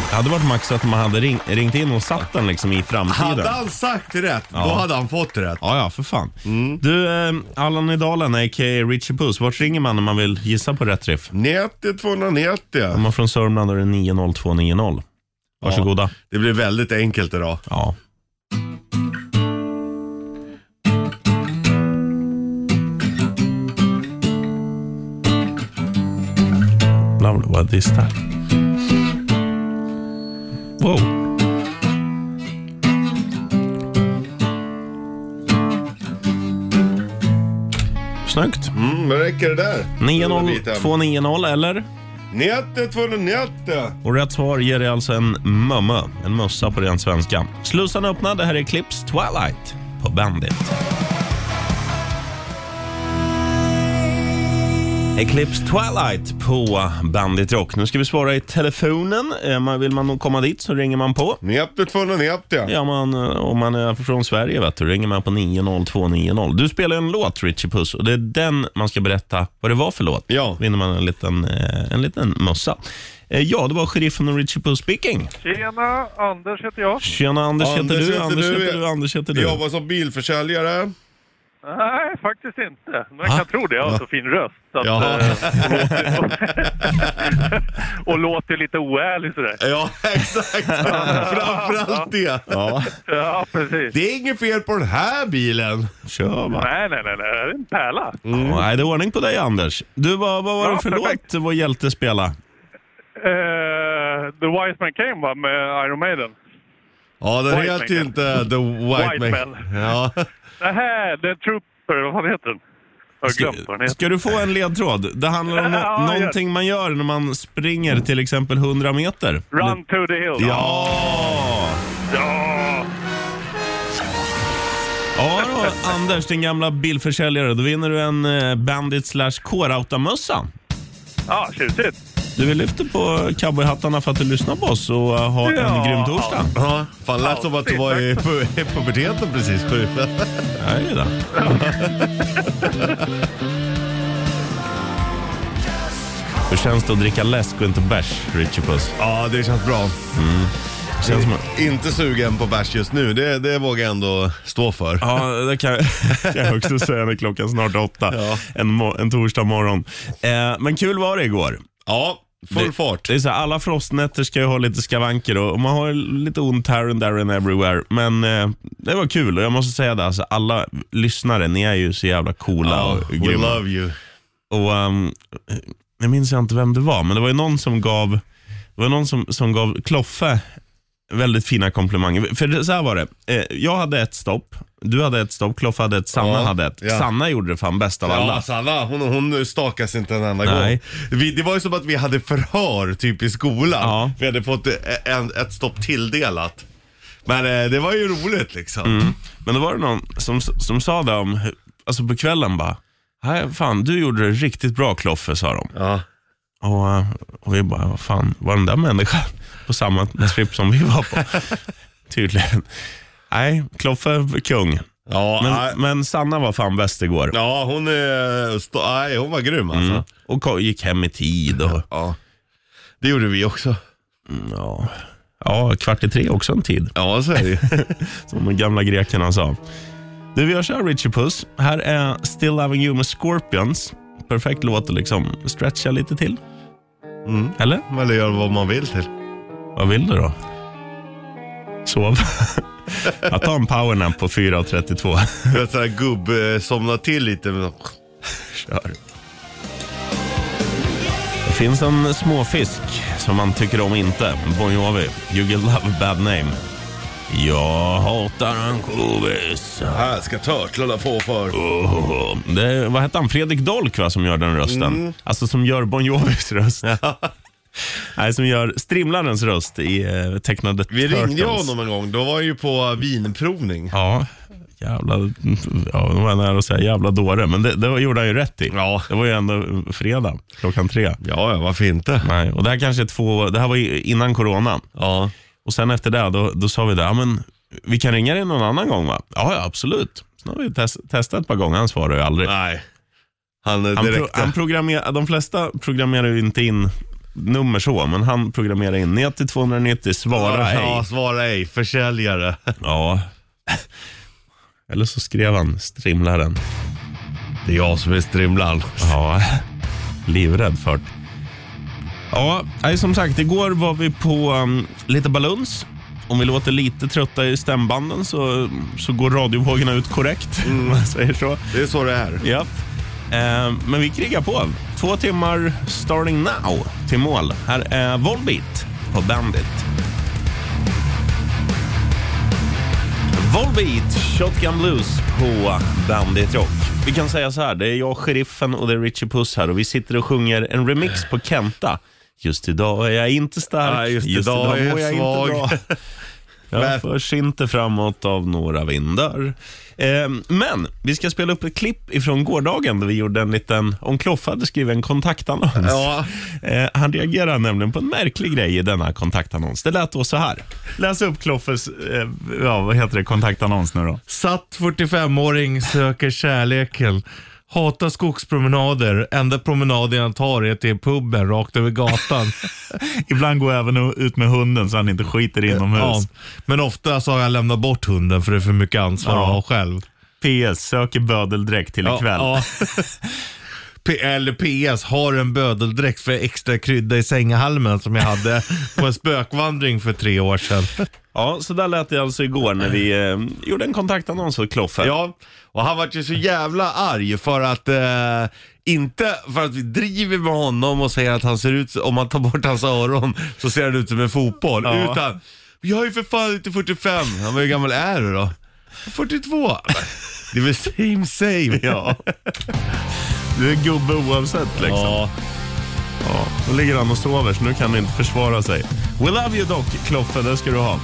[SPEAKER 2] Det hade varit max att man hade ring, ringt in och satt den liksom i framtiden.
[SPEAKER 3] hade han sagt rätt, då hade han fått rätt.
[SPEAKER 2] Ja, ja, för fan.
[SPEAKER 6] Mm.
[SPEAKER 2] Du, eh, Allan i Dalen, a.k.a. Richie Puss. Vart ringer man när man vill gissa på rätt riff?
[SPEAKER 3] 90 290.
[SPEAKER 2] Om man är från Sörmland då är det 90290. Varsågoda.
[SPEAKER 3] Det blir väldigt enkelt idag.
[SPEAKER 2] Ja. Blah, blah, what is that? Wow. Snyggt.
[SPEAKER 3] Mm, men räcker det där?
[SPEAKER 2] 90290 eller?
[SPEAKER 3] 90 290.
[SPEAKER 2] Och rätt svar ger dig alltså en mömme, en mössa på ren svenska. Slussarna öppna, det här är Clips Twilight på Bandit. Eclipse Twilight på Bandit Rock. Nu ska vi svara i telefonen. Eh, man- Vill man nog komma dit så ringer man på.
[SPEAKER 3] 90 290.
[SPEAKER 2] Ja, man, eh, om man är från Sverige vet du, ringer man på 90290. Du spelar en låt, Richie Puss, och det är den man ska berätta vad det var för låt.
[SPEAKER 3] Ja.
[SPEAKER 2] vinner man en liten, eh, en liten mössa. Eh, Ja, det var sheriffen och Richie Puss speaking.
[SPEAKER 7] Tjena, Anders heter jag.
[SPEAKER 2] Tjena, Anders,
[SPEAKER 3] Anders
[SPEAKER 2] heter du,
[SPEAKER 3] heter
[SPEAKER 2] Anders
[SPEAKER 3] du.
[SPEAKER 2] heter du, Anders heter
[SPEAKER 3] Jag
[SPEAKER 2] du.
[SPEAKER 3] jobbar som bilförsäljare.
[SPEAKER 7] Nej, faktiskt inte. Man
[SPEAKER 2] Ah.
[SPEAKER 7] kan tro det. Jag har så fin röst. Så att,
[SPEAKER 3] Jaha.
[SPEAKER 7] eh, och, låter, och låter lite oärlig sådär.
[SPEAKER 3] Ja, exakt. Framförallt det.
[SPEAKER 2] Ja,
[SPEAKER 7] Ja, precis.
[SPEAKER 3] Det är inget fel på den här bilen. Mm.
[SPEAKER 2] kör va.
[SPEAKER 7] Nej, nej, nej, nej. Det är en pärla.
[SPEAKER 2] Ja, nej, det är ordning på dig, Anders. Du, vad, vad var
[SPEAKER 7] Ja,
[SPEAKER 2] det för
[SPEAKER 7] perfekt.
[SPEAKER 2] låt vår hjälte spela?
[SPEAKER 7] Eh, The Wise Man Came va, med Iron Maiden.
[SPEAKER 3] Ja, den
[SPEAKER 7] White
[SPEAKER 3] heter ju
[SPEAKER 7] Man.
[SPEAKER 3] inte The White,
[SPEAKER 7] White
[SPEAKER 3] Man.
[SPEAKER 7] Man.
[SPEAKER 3] Ja.
[SPEAKER 7] Det här, The Trooper, vad fan heter den? Jag har glömt vad den heter.
[SPEAKER 2] ska du få en ledtråd? Det handlar om no-
[SPEAKER 7] Ja, gör det.
[SPEAKER 2] någonting man gör när man springer till exempel 100 meter.
[SPEAKER 7] Run to the hill.
[SPEAKER 2] Ja!
[SPEAKER 7] ja.
[SPEAKER 2] Ja då, Anders, din gamla bilförsäljare. Då vinner du en eh, Bandit slash K-Rauta-mössa.
[SPEAKER 7] Ja, tjusigt.
[SPEAKER 2] Du, vi lyfter på cowboyhattarna för att du lyssnar på oss och eh, har
[SPEAKER 7] Ja.
[SPEAKER 2] en grym torsdag.
[SPEAKER 3] Ja, fan lät som att du var i pu- i puberteten precis.
[SPEAKER 2] Ja, det är det. Hur känns det att dricka läsk och inte bärs, Richie Puss?
[SPEAKER 3] Ja, det känns bra.
[SPEAKER 2] Det känns som...
[SPEAKER 3] Inte sugen på bärs just nu, det, det vågar jag ändå stå för.
[SPEAKER 2] Ja, det kan jag, kan jag också säga när klockan snart är åtta en, mo- en torsdag morgon. Eh, men kul var det igår.
[SPEAKER 3] Ja, full
[SPEAKER 2] Det-
[SPEAKER 3] fart.
[SPEAKER 2] Det är så här, alla frostnätter ska ju ha lite skavanker och och man har ju lite ont här och där and everywhere. Men eh, det var kul och jag måste säga det, alltså, alla lyssnare, ni är ju så jävla coola
[SPEAKER 3] Ja,
[SPEAKER 2] och
[SPEAKER 3] we
[SPEAKER 2] grymma.
[SPEAKER 3] love you.
[SPEAKER 2] Och, ehm, jag minns inte vem det var, men det var ju någon som gav, det var någon som, som gav Kloffe väldigt fina komplimanger. För det- så här var det, eh, jag hade ett stopp, du hade ett stopp, Kloffe hade ett, Sanna
[SPEAKER 3] Ja,
[SPEAKER 2] hade ett.
[SPEAKER 3] ja.
[SPEAKER 2] Sanna gjorde det fan bäst av
[SPEAKER 3] Ja,
[SPEAKER 2] alla.
[SPEAKER 3] Sanna, hon, hon stakas inte en enda
[SPEAKER 2] Nej.
[SPEAKER 3] gång. Vi, det var ju som att vi hade förhör typ i skolan.
[SPEAKER 2] Ja.
[SPEAKER 3] Vi hade fått eh, en, ett stopp tilldelat. Men eh, det var ju roligt liksom.
[SPEAKER 2] Men då var det någon som, som sa det om, hur- alltså på kvällen bara, här, fan du gjorde det riktigt bra Kloffe, sa de.
[SPEAKER 3] Ja.
[SPEAKER 2] Och, eh, och vi bara, vad fan, var den där människan på samma trip som vi var på? Tydligen. Nej, Kloffe kung.
[SPEAKER 3] Ja, nej.
[SPEAKER 2] Men, men Sanna var fan bäst igår.
[SPEAKER 3] ja, hon är... St- nej, hon var grym alltså.
[SPEAKER 2] Mm. Och ko- gick hem i tid. Och,
[SPEAKER 3] Ja. Det gjorde vi också.
[SPEAKER 2] ja. ja, kvart i tre också en tid,
[SPEAKER 3] Ja, så är det ju.
[SPEAKER 2] som de gamla grekerna sa. Du, vi gör så här Richie Puss. Här är Still Loving You med Scorpions. Perfekt låt att liksom stretcha lite till.
[SPEAKER 3] Mm.
[SPEAKER 2] Eller?
[SPEAKER 3] Eller gör vad man vill till.
[SPEAKER 2] Vad vill du då? Sov. Jag tar en powernap på 4.32.
[SPEAKER 3] Du vet sådär gubb, eh, somna till lite. Men...
[SPEAKER 2] Kör. Det finns en småfisk som man tycker om inte. Bon Jovi, You Get Love Bad Name. Jag hatar ansjovis.
[SPEAKER 3] Här ska törtlarna få för.
[SPEAKER 2] Oh, det är, vad hette han? Fredrik Dolk va, som gör den rösten?
[SPEAKER 3] Mm.
[SPEAKER 2] Alltså som gör Bon Jovis röst. Nej, som gör Strimlarens röst i eh, tecknade
[SPEAKER 3] Vi ringde ju
[SPEAKER 2] Turtles.
[SPEAKER 3] honom en gång, då var han ju på eh, vinprovning.
[SPEAKER 2] Ja, jävla... Ja, nu var jag nära att säga jävla dåre, men det, det gjorde han ju rätt i.
[SPEAKER 3] Ja.
[SPEAKER 2] Det var ju ändå fredag klockan tre.
[SPEAKER 3] Ja, ja, varför inte?
[SPEAKER 2] Nej, och det här kanske är två, det här var ju innan corona.
[SPEAKER 3] Ja.
[SPEAKER 2] Och sen efter det, då, då sa vi det, ja, men vi kan ringa dig någon annan gång va? Ja, ja absolut. Sen har vi test, testat ett par gånger, han svarar ju aldrig.
[SPEAKER 3] Nej. Han eh,
[SPEAKER 2] han pro,
[SPEAKER 3] direkt...
[SPEAKER 2] han programmer, de flesta programmerar ju inte in nummer så, men han programmerar in 90 290, svara hej.
[SPEAKER 3] Ja, svara ej. Försäljare.
[SPEAKER 2] Ja. Eller så skrev han strimlaren.
[SPEAKER 3] Det är jag som är strimlan.
[SPEAKER 2] Ja, livrädd för det. Ja, nej, som sagt, igår var vi på um, lite baluns. Om vi låter lite trötta i stämbanden så, så går radiovågorna ut korrekt,
[SPEAKER 3] Mm.
[SPEAKER 2] om man säger så.
[SPEAKER 3] Det är så det är.
[SPEAKER 2] Japp. Eh, men vi krigar på. Två timmar starting now till mål. Här är Volbeat på Bandit. Volbeat, Shotgun Blues på Bandit Rock. Vi kan säga så här, det är jag, Sheriffen och det är Richie Puss här och vi sitter och sjunger en remix på Kenta. Just idag är jag inte stark,
[SPEAKER 3] Nej, just idag är jag svag.
[SPEAKER 2] bra. Jag
[SPEAKER 3] Men-
[SPEAKER 2] förs inte framåt av några vindar. Eh, men vi ska spela upp ett klipp ifrån gårdagen där vi gjorde en liten, om Kloffe hade skrivit en kontaktannons.
[SPEAKER 3] Ja.
[SPEAKER 2] Eh, han reagerar nämligen på en märklig grej i denna kontaktannons. Det lät då så här.
[SPEAKER 8] Läs upp Kloffes, eh, ja vad heter det, kontaktannons nu då.
[SPEAKER 9] Satt 45-åring söker kärleken. Hatar skogspromenader. Enda promenaden jag tar är till puben rakt över gatan.
[SPEAKER 8] Ibland går jag även ut med hunden så han inte skiter inomhus.
[SPEAKER 9] ja. Men ofta så har jag lämnat bort hunden för det är för mycket ansvar
[SPEAKER 8] Ja.
[SPEAKER 9] att ha själv.
[SPEAKER 8] PS, söker bödeldräkt till ikväll.
[SPEAKER 9] Ja. P- Eller PS, har en bödeldräkt för extra krydda i sängahalmen som jag hade på en spökvandring för tre år sedan.
[SPEAKER 2] Ja, så där lät det alltså igår när vi eh, gjorde en kontaktannons för Kloffe.
[SPEAKER 3] Ja, och han vart ju så jävla arg för att eh, inte för att vi driver med honom och säger att han ser ut, om man tar bort hans öron så ser han ut som en fotboll. Utan, jag är ju för fan inte 45. Han var hur gammal är du då? 42. Det är väl same same. Ja.
[SPEAKER 2] Du är gubbe oavsett liksom.
[SPEAKER 3] ja.
[SPEAKER 2] Ja, då ligger han och sover så nu kan han inte försvara sig. We love you dock, Kloffe, det ska du ha.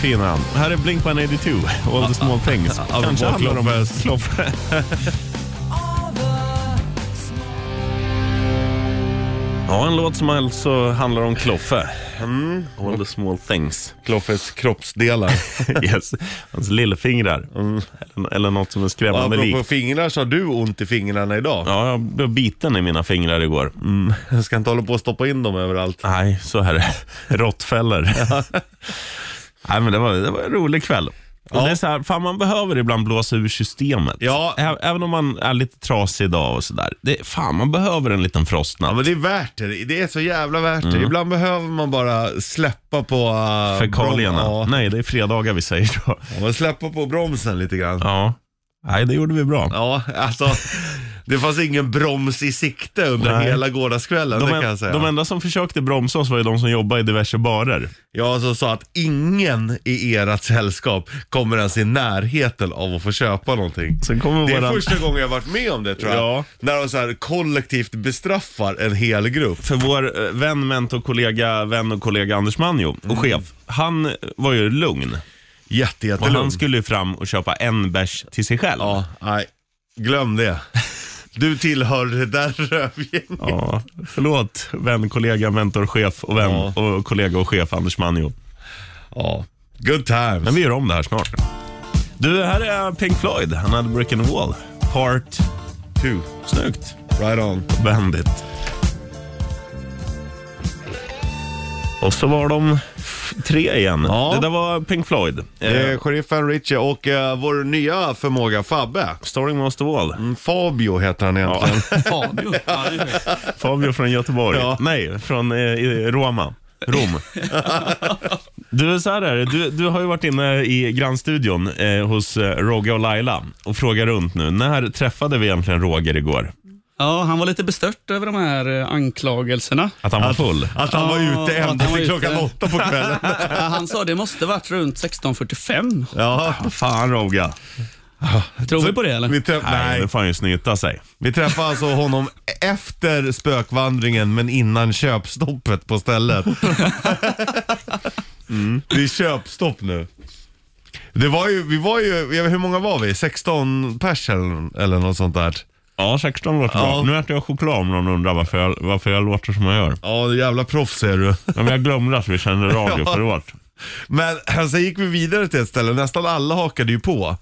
[SPEAKER 2] Fin är han. Här är Blink-182, All the small things. Kanske
[SPEAKER 3] vad
[SPEAKER 2] handlar om Kloffe. Ja, en låt som alltså handlar om Kloffe. Mm. All the small things.
[SPEAKER 3] Kloffes kroppsdelar.
[SPEAKER 2] Yes. Hans lillfingrar. Eller, eller något som är
[SPEAKER 3] Och
[SPEAKER 2] skrämmande
[SPEAKER 3] apropå
[SPEAKER 2] likt.
[SPEAKER 3] fingrar så har du ont i fingrarna idag.
[SPEAKER 2] Ja, jag blev biten i mina fingrar igår. Mm.
[SPEAKER 3] Jag ska inte hålla på och stoppa in dem överallt.
[SPEAKER 2] Nej, så är det. Råttfällor. Nej, men det var, det var en rolig kväll. Och det är så här, fan man behöver ibland blåsa ur systemet.
[SPEAKER 3] Ja.
[SPEAKER 2] Ä- Även om man är lite trasig idag och sådär. Fan, man behöver en liten frostnatt.
[SPEAKER 3] Ja men det är värt det. Det är så jävla värt
[SPEAKER 2] Mm.
[SPEAKER 3] det. Ibland behöver man bara släppa på... Uh,
[SPEAKER 2] Fekalierna.
[SPEAKER 3] Brom-
[SPEAKER 2] Nej, det är fredagar vi säger då.
[SPEAKER 3] ja, man släppa på bromsen lite grann.
[SPEAKER 2] Ja. Nej, det gjorde vi bra.
[SPEAKER 3] Ja, alltså. Det fanns ingen broms i sikte under
[SPEAKER 2] Nej.
[SPEAKER 3] hela gårdagskvällen,
[SPEAKER 2] De,
[SPEAKER 3] det kan
[SPEAKER 2] en,
[SPEAKER 3] jag säga.
[SPEAKER 2] de enda som försökte bromsa oss var ju de som jobbade i diverse barer.
[SPEAKER 3] Jag som sa att ingen i ert sällskap kommer ens i närheten av att få köpa någonting.
[SPEAKER 2] Sen kommer
[SPEAKER 3] Det är
[SPEAKER 2] våran-
[SPEAKER 3] första gången jag varit med om det tror jag.
[SPEAKER 2] Ja.
[SPEAKER 3] När de så här kollektivt bestraffar en hel grupp.
[SPEAKER 2] För vår eh, vän, mentor, kollega, vän och kollega Anders Manjo och
[SPEAKER 3] Mm.
[SPEAKER 2] chef, han eh, var ju lugn.
[SPEAKER 3] Jätte,
[SPEAKER 2] Och han
[SPEAKER 3] jättelugnt.
[SPEAKER 2] skulle ju fram och köpa en bärs till sig själv.
[SPEAKER 3] Ja, nej. Glöm det. Du tillhör det där rövgänget.
[SPEAKER 2] Ja, förlåt vän, kollega, mentor, chef och vän
[SPEAKER 3] Ja.
[SPEAKER 2] och kollega och chef Anders Manjo.
[SPEAKER 3] Ja. Good times.
[SPEAKER 2] Men vi gör om det här snart. Du, här är Pink Floyd, han hade Breaking Wall, Part 2. Snyggt.
[SPEAKER 3] Right on.
[SPEAKER 2] Eh. Bandit. Och så var de f- tre igen.
[SPEAKER 3] Ja.
[SPEAKER 2] Det där var Pink Floyd. Eh,
[SPEAKER 3] Det är sheriffen Richie och eh, vår nya förmåga Fabbe.
[SPEAKER 2] Starring Master Wall.
[SPEAKER 3] Mm, Fabio heter han egentligen.
[SPEAKER 4] Fabio. Ja, det är det.
[SPEAKER 2] Fabio från Göteborg.
[SPEAKER 3] Ja.
[SPEAKER 2] Nej, från eh, i Roma. Rom. Du, så här är det. Du, du har ju varit inne i grannstudion eh, hos eh, Roger och Laila och frågar runt nu. När träffade vi egentligen Roger igår?
[SPEAKER 4] ja, han var lite bestört över de här eh, anklagelserna.
[SPEAKER 2] Att han var full?
[SPEAKER 3] Att han var
[SPEAKER 4] Ja,
[SPEAKER 3] ute
[SPEAKER 4] att
[SPEAKER 3] ända
[SPEAKER 4] han var
[SPEAKER 3] till
[SPEAKER 4] ute.
[SPEAKER 3] klockan åtta på kvällen.
[SPEAKER 4] Ja, Eh, Han sa det måste varit runt 16.45.
[SPEAKER 3] Ja.
[SPEAKER 2] Fan Rogga.
[SPEAKER 4] Tror vi på det eller?
[SPEAKER 3] Alltså, Vi träff-
[SPEAKER 2] Nej,
[SPEAKER 3] nej,
[SPEAKER 2] nu får han ju snyta sig.
[SPEAKER 3] vi träffade alltså honom efter spökvandringen men innan köpstoppet på stället. Mm. Det är köpstopp nu. Det var ju, vi var ju, jag vet, hur många var vi? 16 pers eller, eller något sånt där.
[SPEAKER 2] Ja, 16 låter bra.
[SPEAKER 3] Ja.
[SPEAKER 2] Nu äter jag choklad om någon undrar varför jag, varför jag låter som jag gör.
[SPEAKER 3] Ja, jävla proffs är du.
[SPEAKER 2] Ja, men jag glömde att vi kände radio
[SPEAKER 3] Ja.
[SPEAKER 2] förlåt.
[SPEAKER 3] Men alltså, sen gick vi vidare till ett ställe, nästan alla hakade ju på.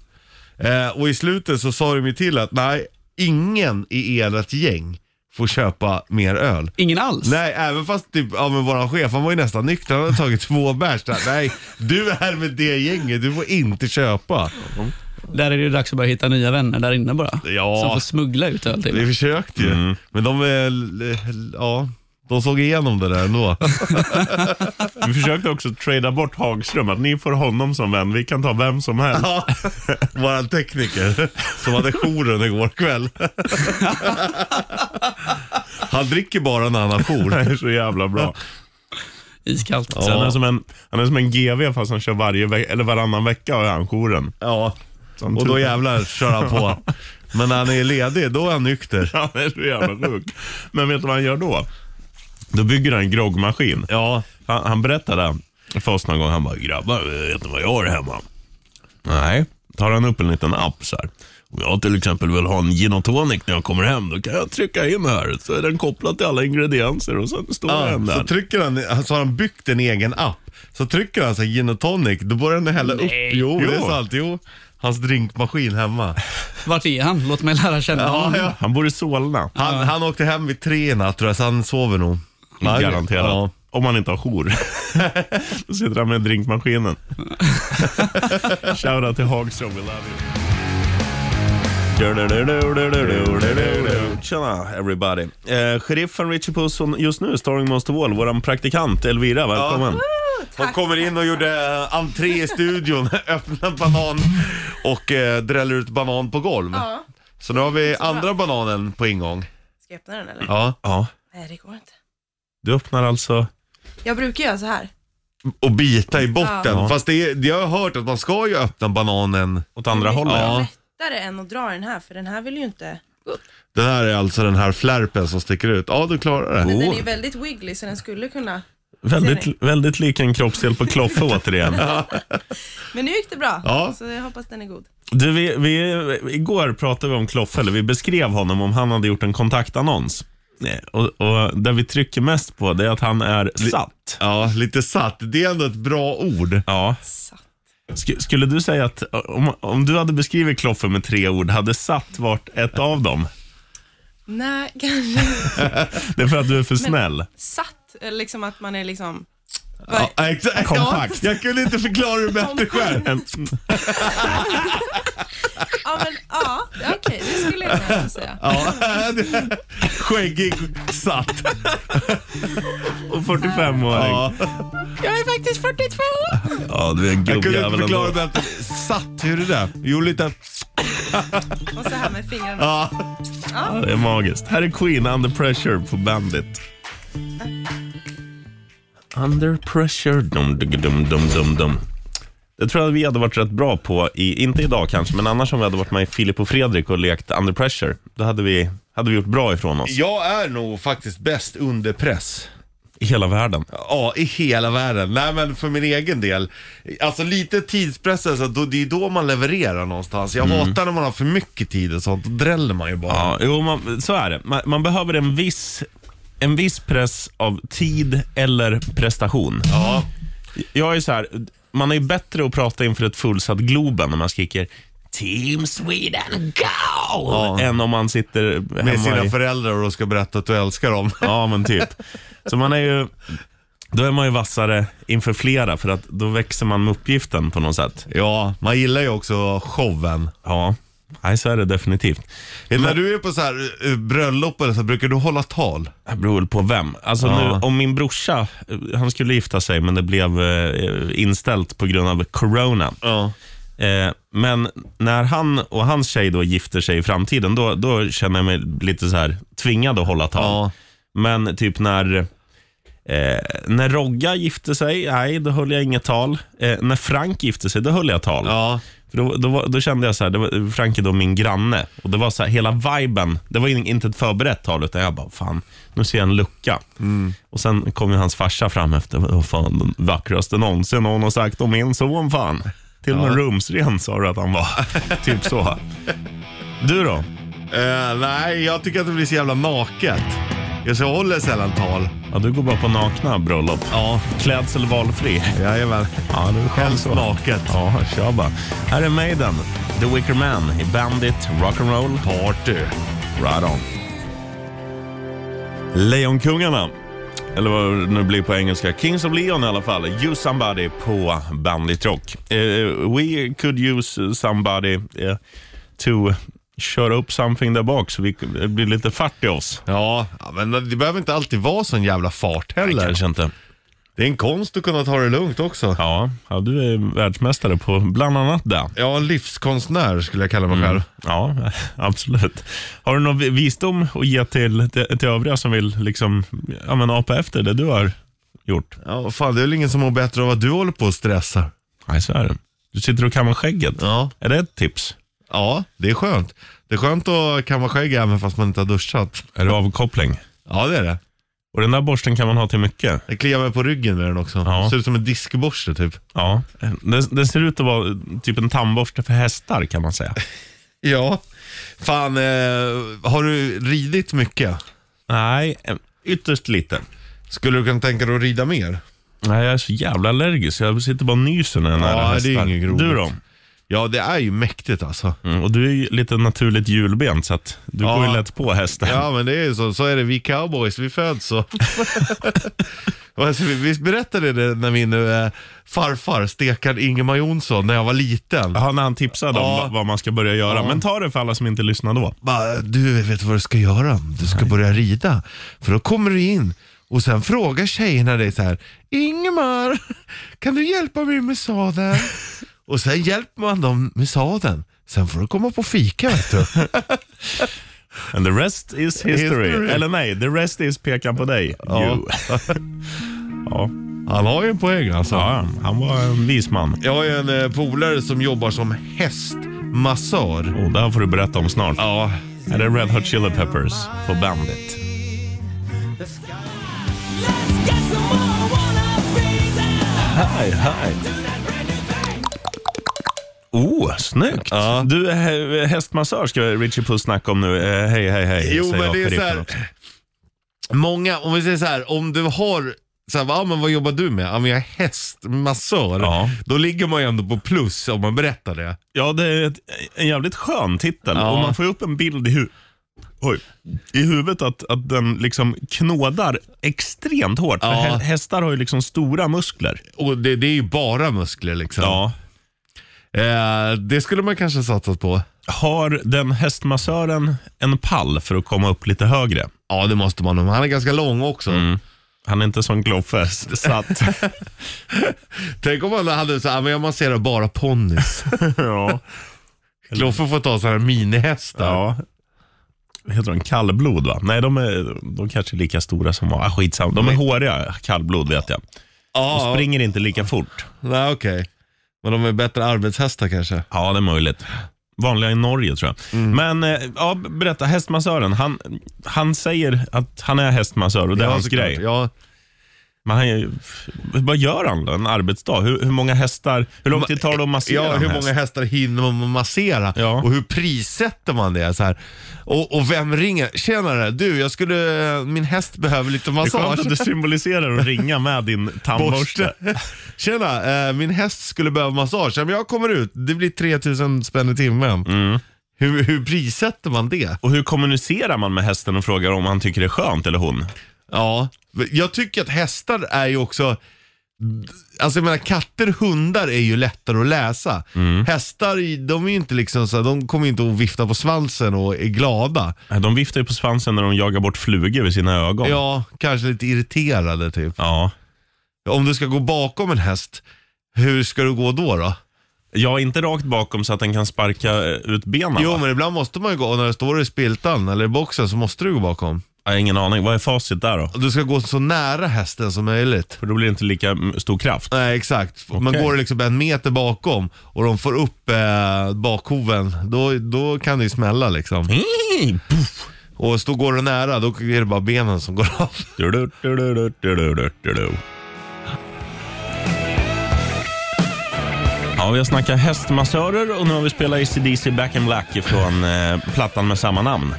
[SPEAKER 3] Eh, och i slutet så sa de ju till att nej, ingen i ert gäng får köpa mer öl.
[SPEAKER 4] Ingen alls?
[SPEAKER 3] Nej, även fast typ, ja men våran chef, han var ju nästan nykter, han hade tagit två bärs där. Nej, du är med det gänget, du får inte köpa.
[SPEAKER 4] Där är det ju dags att börja hitta nya vänner där inne bara.
[SPEAKER 3] Ja.
[SPEAKER 4] Som får smuggla ut öl till.
[SPEAKER 3] Vi försökte ju,
[SPEAKER 2] Mm.
[SPEAKER 3] men de, eh, ja, de såg igenom det där ändå.
[SPEAKER 2] Vi försökte också trada bort Hagström, att ni får honom som vän. Vi kan ta vem som helst.
[SPEAKER 3] Ja, våran tekniker som hade jouren igår kväll. Han dricker bara när han har jour.
[SPEAKER 2] Det är så jävla bra.
[SPEAKER 4] Iskallt.
[SPEAKER 2] Så han, är som en, han är som en GV fast han kör varje ve- eller varannan vecka har han jouren. typ-
[SPEAKER 3] Ja, och då jävlar kör han på. Men när han är ledig, då är han nykter.
[SPEAKER 2] Han är så jävla sjuk. Men vet du vad han gör då? Då bygger han en groggmaskin.
[SPEAKER 3] Ja,
[SPEAKER 2] Han, han berättade för oss någon gång, han bara “grabbar, vet ni vad jag har hemma?” Nej. Tar han upp en liten app så här. Om jag till exempel vill ha en gin och tonic när jag kommer hem, då kan jag trycka in här. Så är den kopplad till alla ingredienser och sen står
[SPEAKER 3] ja
[SPEAKER 2] den där.
[SPEAKER 3] så trycker han, så har han byggt en egen app. Så trycker han så här gin och tonic, då börjar den hälla upp. Jo, det är
[SPEAKER 2] Jo.
[SPEAKER 3] sant. Jo. Hans drinkmaskin hemma.
[SPEAKER 4] Vart är han? Låt mig lära känna honom.
[SPEAKER 3] Ja, ja.
[SPEAKER 2] Han bor i Solna.
[SPEAKER 3] Han, han åkte hem vid tre i natt tror jag, så han sover nog.
[SPEAKER 2] Garanterat.
[SPEAKER 3] Ja.
[SPEAKER 2] Om man inte har jour. Då sitter han med drinkmaskinen. Shoutout till Hagström, we love you. Tjena everybody. Eh, sheriffen Richie Puss och just nu Starring Monster Wall, vår praktikant Elvira, välkommen.
[SPEAKER 3] Hon kommer in och gjorde eh, entré i studion, öppnar banan och eh, dräller ut banan på golv.
[SPEAKER 10] Ja.
[SPEAKER 3] Så nu har vi andra bananen på ingång.
[SPEAKER 10] Ska jag öppna den eller?
[SPEAKER 3] Ja.
[SPEAKER 2] Ja,
[SPEAKER 10] Nej, det går inte.
[SPEAKER 2] du öppnar alltså...
[SPEAKER 10] Jag brukar göra så här.
[SPEAKER 3] Och bita i botten.
[SPEAKER 2] Ja.
[SPEAKER 3] Fast det är, jag har hört att man ska ju öppna bananen.
[SPEAKER 2] Åt andra hållet?
[SPEAKER 3] Ja.
[SPEAKER 10] Lättare än att dra den här, för den här vill ju inte...
[SPEAKER 3] Den här är alltså den här flärpen som sticker ut. Ja, du klarar det.
[SPEAKER 10] Men den är
[SPEAKER 2] Oh.
[SPEAKER 10] ju väldigt wiggly, så den skulle kunna...
[SPEAKER 2] Väldigt, väldigt lik en kroppsdel på Kloffe återigen.
[SPEAKER 10] Men nu gick det bra,
[SPEAKER 3] Ja.
[SPEAKER 10] så jag hoppas den är god.
[SPEAKER 2] Du, vi, vi, igår pratade vi om Kloffe, eller vi beskrev honom om han hade gjort en kontaktannons. Nej, Och, och det vi trycker mest på det är att han är satt.
[SPEAKER 3] Ja, lite satt. Det är ändå ett bra ord.
[SPEAKER 2] Ja.
[SPEAKER 10] Satt.
[SPEAKER 2] Sk- skulle du säga att om, om du hade beskrivit Kloffe med tre ord, hade satt varit ett av dem?
[SPEAKER 10] Nej, kanske
[SPEAKER 2] Det är för att du är för snäll.
[SPEAKER 10] satt. Eller liksom att man är liksom...
[SPEAKER 3] Ja, exakt. Ja,
[SPEAKER 2] Kompakt.
[SPEAKER 3] jag kunde inte förklara det bättre själv.
[SPEAKER 2] En-
[SPEAKER 10] Ja, men ja, ja, okej, det skulle jag kunna säga.
[SPEAKER 3] Ja, det- Mm. skäggig satt.
[SPEAKER 2] Och 45-åring. Ja.
[SPEAKER 3] Ja,
[SPEAKER 10] Jag är faktiskt 42!
[SPEAKER 2] du är en
[SPEAKER 3] jag kunde inte
[SPEAKER 2] gubbjävel
[SPEAKER 3] förklara
[SPEAKER 2] ändå.
[SPEAKER 3] det bättre. Satt, hur är det där? Jo, lite...
[SPEAKER 10] Och så här med fingrarna.
[SPEAKER 3] Ja.
[SPEAKER 2] Det är magiskt. Här är Queen, Under Pressure på Bandit. Under Pressure. Dum, dum, dum, dum, dum, dum. Det tror jag vi hade varit rätt bra på, i, inte idag kanske, men annars om vi hade varit med i Filip och Fredrik och lekt Under Pressure. Då hade vi, hade vi gjort bra ifrån oss.
[SPEAKER 3] Jag är nog faktiskt bäst under press.
[SPEAKER 2] I hela världen.
[SPEAKER 3] Ja, i hela världen. Nej, men för min egen del. Alltså lite tidspress, alltså, då, det är då man levererar någonstans. Jag hatar när man har för mycket tid och sånt. Då dräller man ju bara.
[SPEAKER 2] Ja, jo, man, så är det. Man, man behöver en viss, en viss press av tid eller prestation. Ja. Jag är så här, man är ju bättre att prata inför ett fullsatt Globen när man skriker Team Sweden go! Än om man sitter
[SPEAKER 3] Med
[SPEAKER 2] hemma
[SPEAKER 3] sina
[SPEAKER 2] i...
[SPEAKER 3] föräldrar och ska berätta att du älskar dem.
[SPEAKER 2] Ja, men typ. Så man är ju... Då är man ju vassare inför flera för att då växer man med uppgiften på något sätt.
[SPEAKER 3] Ja, man gillar ju också showen.
[SPEAKER 2] Ja, nej, så är det definitivt.
[SPEAKER 3] När du är på så här eh, bröllop eller så, brukar du hålla tal?
[SPEAKER 2] Det beror väl på vem. Alltså nu, om min brorsa, eh, han skulle gifta sig men det blev eh, inställt på grund av corona.
[SPEAKER 3] Ja.
[SPEAKER 2] Eh, men när han och hans tjej då gifter sig i framtiden, då, då känner jag mig lite så här tvingad att hålla tal.
[SPEAKER 3] Ja.
[SPEAKER 2] Men typ när, eh, när Rogga gifte sig, nej då höll jag inget tal. Eh, när Frank gifte sig, då höll jag tal.
[SPEAKER 3] Ja.
[SPEAKER 2] För då, då, var- då kände jag så här, det var, Frank är då min granne och det var så här, hela viben, det var in- inte ett förberett tal utan jag bara, fan, nu ser jag en lucka. Och sen kom ju hans farsa fram efter, vad fan, den vackraste någonsin någon har sagt om min son fan. Till och med rumsren sa du att han var. typ så. Du då?
[SPEAKER 3] Eh, nej, jag tycker att det blir så jävla naket. Jag så håller sällan tal.
[SPEAKER 2] Ja, du går bara på nakna bröllop.
[SPEAKER 3] Ja.
[SPEAKER 2] Klädsel valfri.
[SPEAKER 3] Jajamän.
[SPEAKER 2] Ja, det är skönt
[SPEAKER 3] Helst
[SPEAKER 2] så.
[SPEAKER 3] naket.
[SPEAKER 2] Ja, kör bara. Här är Maiden, The Wicker Man i Bandit Rock'n'Roll Party. Right on. Lejonkungarna, eller vad det nu blir på engelska, Kings of Leon i alla fall, You Somebody på Bandit Rock. Eh, we could use somebody eh, to köra upp something där bak så vi, det blir lite fart i oss.
[SPEAKER 3] Ja, ja, men det behöver inte alltid vara sån jävla fart heller.
[SPEAKER 2] inte.
[SPEAKER 3] Det är en konst att kunna ta det lugnt också. Ja,
[SPEAKER 2] Ja, ja, du är världsmästare på bland annat det.
[SPEAKER 3] en livskonstnär skulle jag kalla mig
[SPEAKER 2] Mm.
[SPEAKER 3] själv.
[SPEAKER 2] Ja, absolut. Har du någon vi- visdom att ge till, till, till övriga som vill liksom, ja, men apa efter det du har gjort?
[SPEAKER 3] Ja, fan det är väl ingen som mår bättre av att du håller på och stressar.
[SPEAKER 2] Nej, så är det. Du sitter och kammar skägget.
[SPEAKER 3] Ja.
[SPEAKER 2] Är det ett tips?
[SPEAKER 3] Ja, det är skönt. Det är skönt att kamma skägg även fast man inte har duschat.
[SPEAKER 2] Är det avkoppling?
[SPEAKER 3] Ja, det är det.
[SPEAKER 2] Och den där borsten kan man ha till mycket.
[SPEAKER 3] Jag kliar mig på ryggen med den också.
[SPEAKER 2] Ja.
[SPEAKER 3] Ser ut som en diskborste typ.
[SPEAKER 2] Ja. Den, den ser ut att vara typ en tandborste för hästar kan man säga.
[SPEAKER 3] Ja. Fan, eh, har du ridit mycket?
[SPEAKER 2] Nej, ytterst lite.
[SPEAKER 3] Skulle du kunna tänka dig att rida mer?
[SPEAKER 2] Nej, jag är så jävla allergisk. Jag sitter bara och nyser när jag är nära
[SPEAKER 3] Ja,
[SPEAKER 2] hästar.
[SPEAKER 3] det är inget roligt.
[SPEAKER 2] Du då?
[SPEAKER 3] Ja, det är ju mäktigt alltså.
[SPEAKER 2] Mm, och du är ju lite naturligt hjulbent så att du
[SPEAKER 3] Ja.
[SPEAKER 2] går ju lätt på hästen.
[SPEAKER 3] Ja, men det är ju så. Så är det. Vi cowboys, vi föds så. Och alltså, vi, vi berättade det när min eh, farfar, stekaren Ingemar Jonsson, när jag var liten.
[SPEAKER 2] Ja, när han tipsade om
[SPEAKER 3] Ja.
[SPEAKER 2] va- vad man ska börja göra. Men ta det för alla som inte lyssnar då.
[SPEAKER 3] Bara, du vet vad du ska göra? Du ska börja rida. För då kommer du in och sen frågar tjejerna dig så här. Ingemar, kan du hjälpa mig med sadeln? och sen hjälper man dem med sadeln. Sen får du komma på fika vet du.
[SPEAKER 2] And the rest is history.
[SPEAKER 3] History.
[SPEAKER 2] Eller nej, the rest is pekan på dig.
[SPEAKER 3] Ja.
[SPEAKER 2] You. ja.
[SPEAKER 3] Han har ju en poäng alltså.
[SPEAKER 2] ja, han var en vis man.
[SPEAKER 3] Jag har ju en eh, polare som jobbar som hästmassör.
[SPEAKER 2] Och Oh, det här får du berätta om snart.
[SPEAKER 3] Ja,
[SPEAKER 2] Här är Red Hot Chili Peppers på Bandit. Hi, hi. Oh, snyggt. Du, hä- hästmassör ska Richie Puss snacka om nu. Eh, hej, hej, hej.
[SPEAKER 3] Jo
[SPEAKER 2] säger
[SPEAKER 3] men
[SPEAKER 2] jag
[SPEAKER 3] det
[SPEAKER 2] på
[SPEAKER 3] är så
[SPEAKER 2] riffen också.
[SPEAKER 3] här. Många, om vi säger så här, om du har så här, ah, men vad jobbar du med? Ja, men jag är hästmassör.
[SPEAKER 2] Ja.
[SPEAKER 3] Då ligger man ju ändå på plus om man berättar det.
[SPEAKER 2] Ja, det är ett, en jävligt skön titel.
[SPEAKER 3] Ja.
[SPEAKER 2] Och man får ju upp en bild i, hu- Oj. i huvudet att, att den liksom knådar extremt hårt. För
[SPEAKER 3] Ja.
[SPEAKER 2] hä- hästar har ju liksom stora muskler.
[SPEAKER 3] Och det, det är ju bara muskler liksom.
[SPEAKER 2] Ja.
[SPEAKER 3] Eh, det skulle man kanske satsat på.
[SPEAKER 2] Har den hästmassören en pall för att komma upp lite högre?
[SPEAKER 3] Ja, det måste man nog. Han är ganska lång också.
[SPEAKER 2] Mm. Han är inte som Gloffe, så att...
[SPEAKER 3] Tänk om man hade så här, "Ah, men jag masserar bara ponnys.
[SPEAKER 2] ja.
[SPEAKER 3] Kloffe får ta sådana här minihästar.
[SPEAKER 2] ja. Vad Heter de kallblod? Va? Nej, de är de kanske är lika stora som var. Ah, skitsamma. De är håriga, kallblod vet jag. De
[SPEAKER 3] Mm. ja.
[SPEAKER 2] springer inte lika fort.
[SPEAKER 3] Nej, okej. Men de är bättre arbetshästar kanske.
[SPEAKER 2] Ja, det är möjligt. Vanliga i Norge tror jag.
[SPEAKER 3] Mm.
[SPEAKER 2] Men eh, ja, berätta, hästmassören. Han, han säger att han är hästmassör och det är
[SPEAKER 3] Ja,
[SPEAKER 2] hans
[SPEAKER 3] såklart.
[SPEAKER 2] grej.
[SPEAKER 3] Ja.
[SPEAKER 2] Men han, är ju- vad gör han då en arbetsdag? Hur, hur många hästar, hur lång tid tar det att massera
[SPEAKER 3] Ja,
[SPEAKER 2] en
[SPEAKER 3] hur
[SPEAKER 2] häst?
[SPEAKER 3] många hästar hinner man massera?
[SPEAKER 2] Ja.
[SPEAKER 3] Och hur prissätter man det? Så här. Och, och vem ringer? Tjenare, du, jag skulle, min häst behöver lite
[SPEAKER 2] Det är skönt
[SPEAKER 3] massage.
[SPEAKER 2] att du symboliserar att ringa med din tandborste.
[SPEAKER 3] Borste. Tjena, eh, min häst skulle behöva massage. Ja, Men jag kommer ut, det blir 3000 spänn i timmen. Hur, hur prissätter man det?
[SPEAKER 2] Och hur kommunicerar man med hästen och frågar om han tycker det är skönt eller hon?
[SPEAKER 3] Ja, jag tycker att hästar är ju också Alltså jag menar katter, hundar är ju lättare att läsa. Hästar, de är ju inte liksom så här, de kommer ju inte att vifta på svansen och är glada.
[SPEAKER 2] Nej, De viftar ju på svansen när de jagar bort flugor vid sina ögon.
[SPEAKER 3] Ja, kanske lite irriterade typ.
[SPEAKER 2] Ja.
[SPEAKER 3] Om du ska gå bakom en häst, hur ska du gå då? då?
[SPEAKER 2] Ja, inte rakt bakom så att den kan sparka eh, ut benen.
[SPEAKER 3] Jo,
[SPEAKER 2] va?
[SPEAKER 3] men ibland måste man ju gå, och när det står i spiltan eller i boxen så måste du gå bakom.
[SPEAKER 2] Jag har ingen aning. Vad är facit där då?
[SPEAKER 3] Och Du ska gå så nära hästen som möjligt.
[SPEAKER 2] För då blir det inte lika mm, stor kraft.
[SPEAKER 3] Nej, exakt. Men
[SPEAKER 2] Okej.
[SPEAKER 3] går det liksom en meter bakom och de får upp eh, bakhoven, då, då kan det ju smälla liksom.
[SPEAKER 2] Mm.
[SPEAKER 3] Och så går du nära, då är det bara benen som går av.
[SPEAKER 2] Du, du, du, du, du, du, du, du, du. Ja, vi har snackat hästmassörer och nu har vi spelat ACDC Back in Black ifrån eh, plattan med samma namn.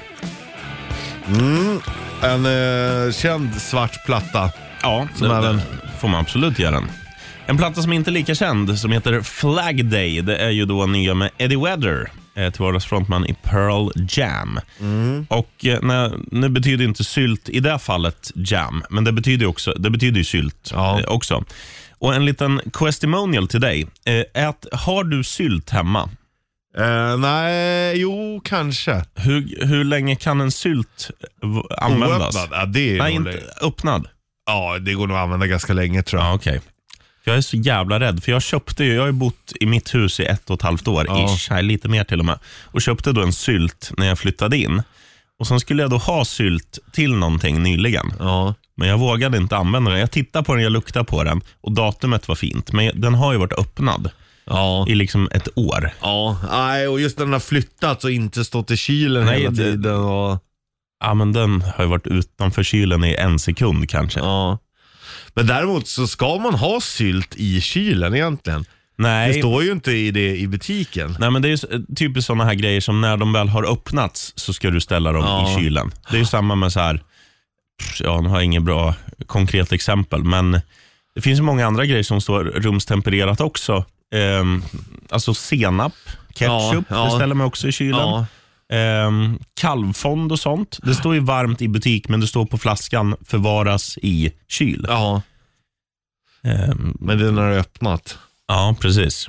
[SPEAKER 3] En eh, känd svart platta.
[SPEAKER 2] Ja,
[SPEAKER 3] Som
[SPEAKER 2] det,
[SPEAKER 3] även-
[SPEAKER 2] det får man absolut göra den. En platta som inte är lika känd som heter Flag Day. Det är ju då nya med Eddie Weather, eh, till vardags frontman i Pearl Jam.
[SPEAKER 3] Mm.
[SPEAKER 2] Och eh, nej, Nu betyder inte sylt i det fallet jam, men det betyder ju, också, det betyder ju sylt
[SPEAKER 3] Ja.
[SPEAKER 2] eh, också. Och En liten questimonial till dig. Eh, är att, har du sylt hemma?
[SPEAKER 3] Eh, nej, jo kanske.
[SPEAKER 2] Hur, hur länge kan en sylt eh, v- användas?
[SPEAKER 3] Oöppnad? Ja, det är
[SPEAKER 2] Nej,
[SPEAKER 3] nog
[SPEAKER 2] inte
[SPEAKER 3] det.
[SPEAKER 2] öppnad.
[SPEAKER 3] Ja, det går nog att använda ganska länge tror jag.
[SPEAKER 2] Ja, okej. Jag är så jävla rädd, för jag köpte ju, jag har ju bott i mitt hus i ett och ett halvt år,
[SPEAKER 3] Ja.
[SPEAKER 2] ish, nej, lite mer till och med, och köpte då en sylt när jag flyttade in. Och Sen skulle jag då ha sylt till någonting nyligen,
[SPEAKER 3] Ja.
[SPEAKER 2] men jag vågade inte använda den. Jag tittade på den, jag luktade på den och datumet var fint, men den har ju varit öppnad
[SPEAKER 3] Ja.
[SPEAKER 2] i liksom ett år.
[SPEAKER 3] Ja, nej, och just när den har flyttats och inte stått i kylen
[SPEAKER 2] Nej,
[SPEAKER 3] hela
[SPEAKER 2] det-
[SPEAKER 3] tiden. Och,
[SPEAKER 2] Ja, men den har ju varit utanför kylen i en sekund kanske.
[SPEAKER 3] ja. Men däremot så ska man ha sylt i kylen egentligen.
[SPEAKER 2] Nej.
[SPEAKER 3] Det står ju inte i det i butiken.
[SPEAKER 2] Nej, men det är ju s- typiskt sådana här grejer som när de väl har öppnats så ska du ställa dem
[SPEAKER 3] Ja.
[SPEAKER 2] i kylen. Det är ju samma med så här, pff, ja nu har jag inget bra konkret exempel, men det finns ju många andra grejer som står rumstempererat också. Ehm, alltså senap, ketchup,
[SPEAKER 3] Ja, ja.
[SPEAKER 2] det ställer man också i kylen.
[SPEAKER 3] Ja.
[SPEAKER 2] Ehm, kalvfond och sånt. Det står ju varmt i butik, men det står på flaskan förvaras i kyl.
[SPEAKER 3] ja,
[SPEAKER 2] Ehm,
[SPEAKER 3] men den har öppnat.
[SPEAKER 2] ja precis.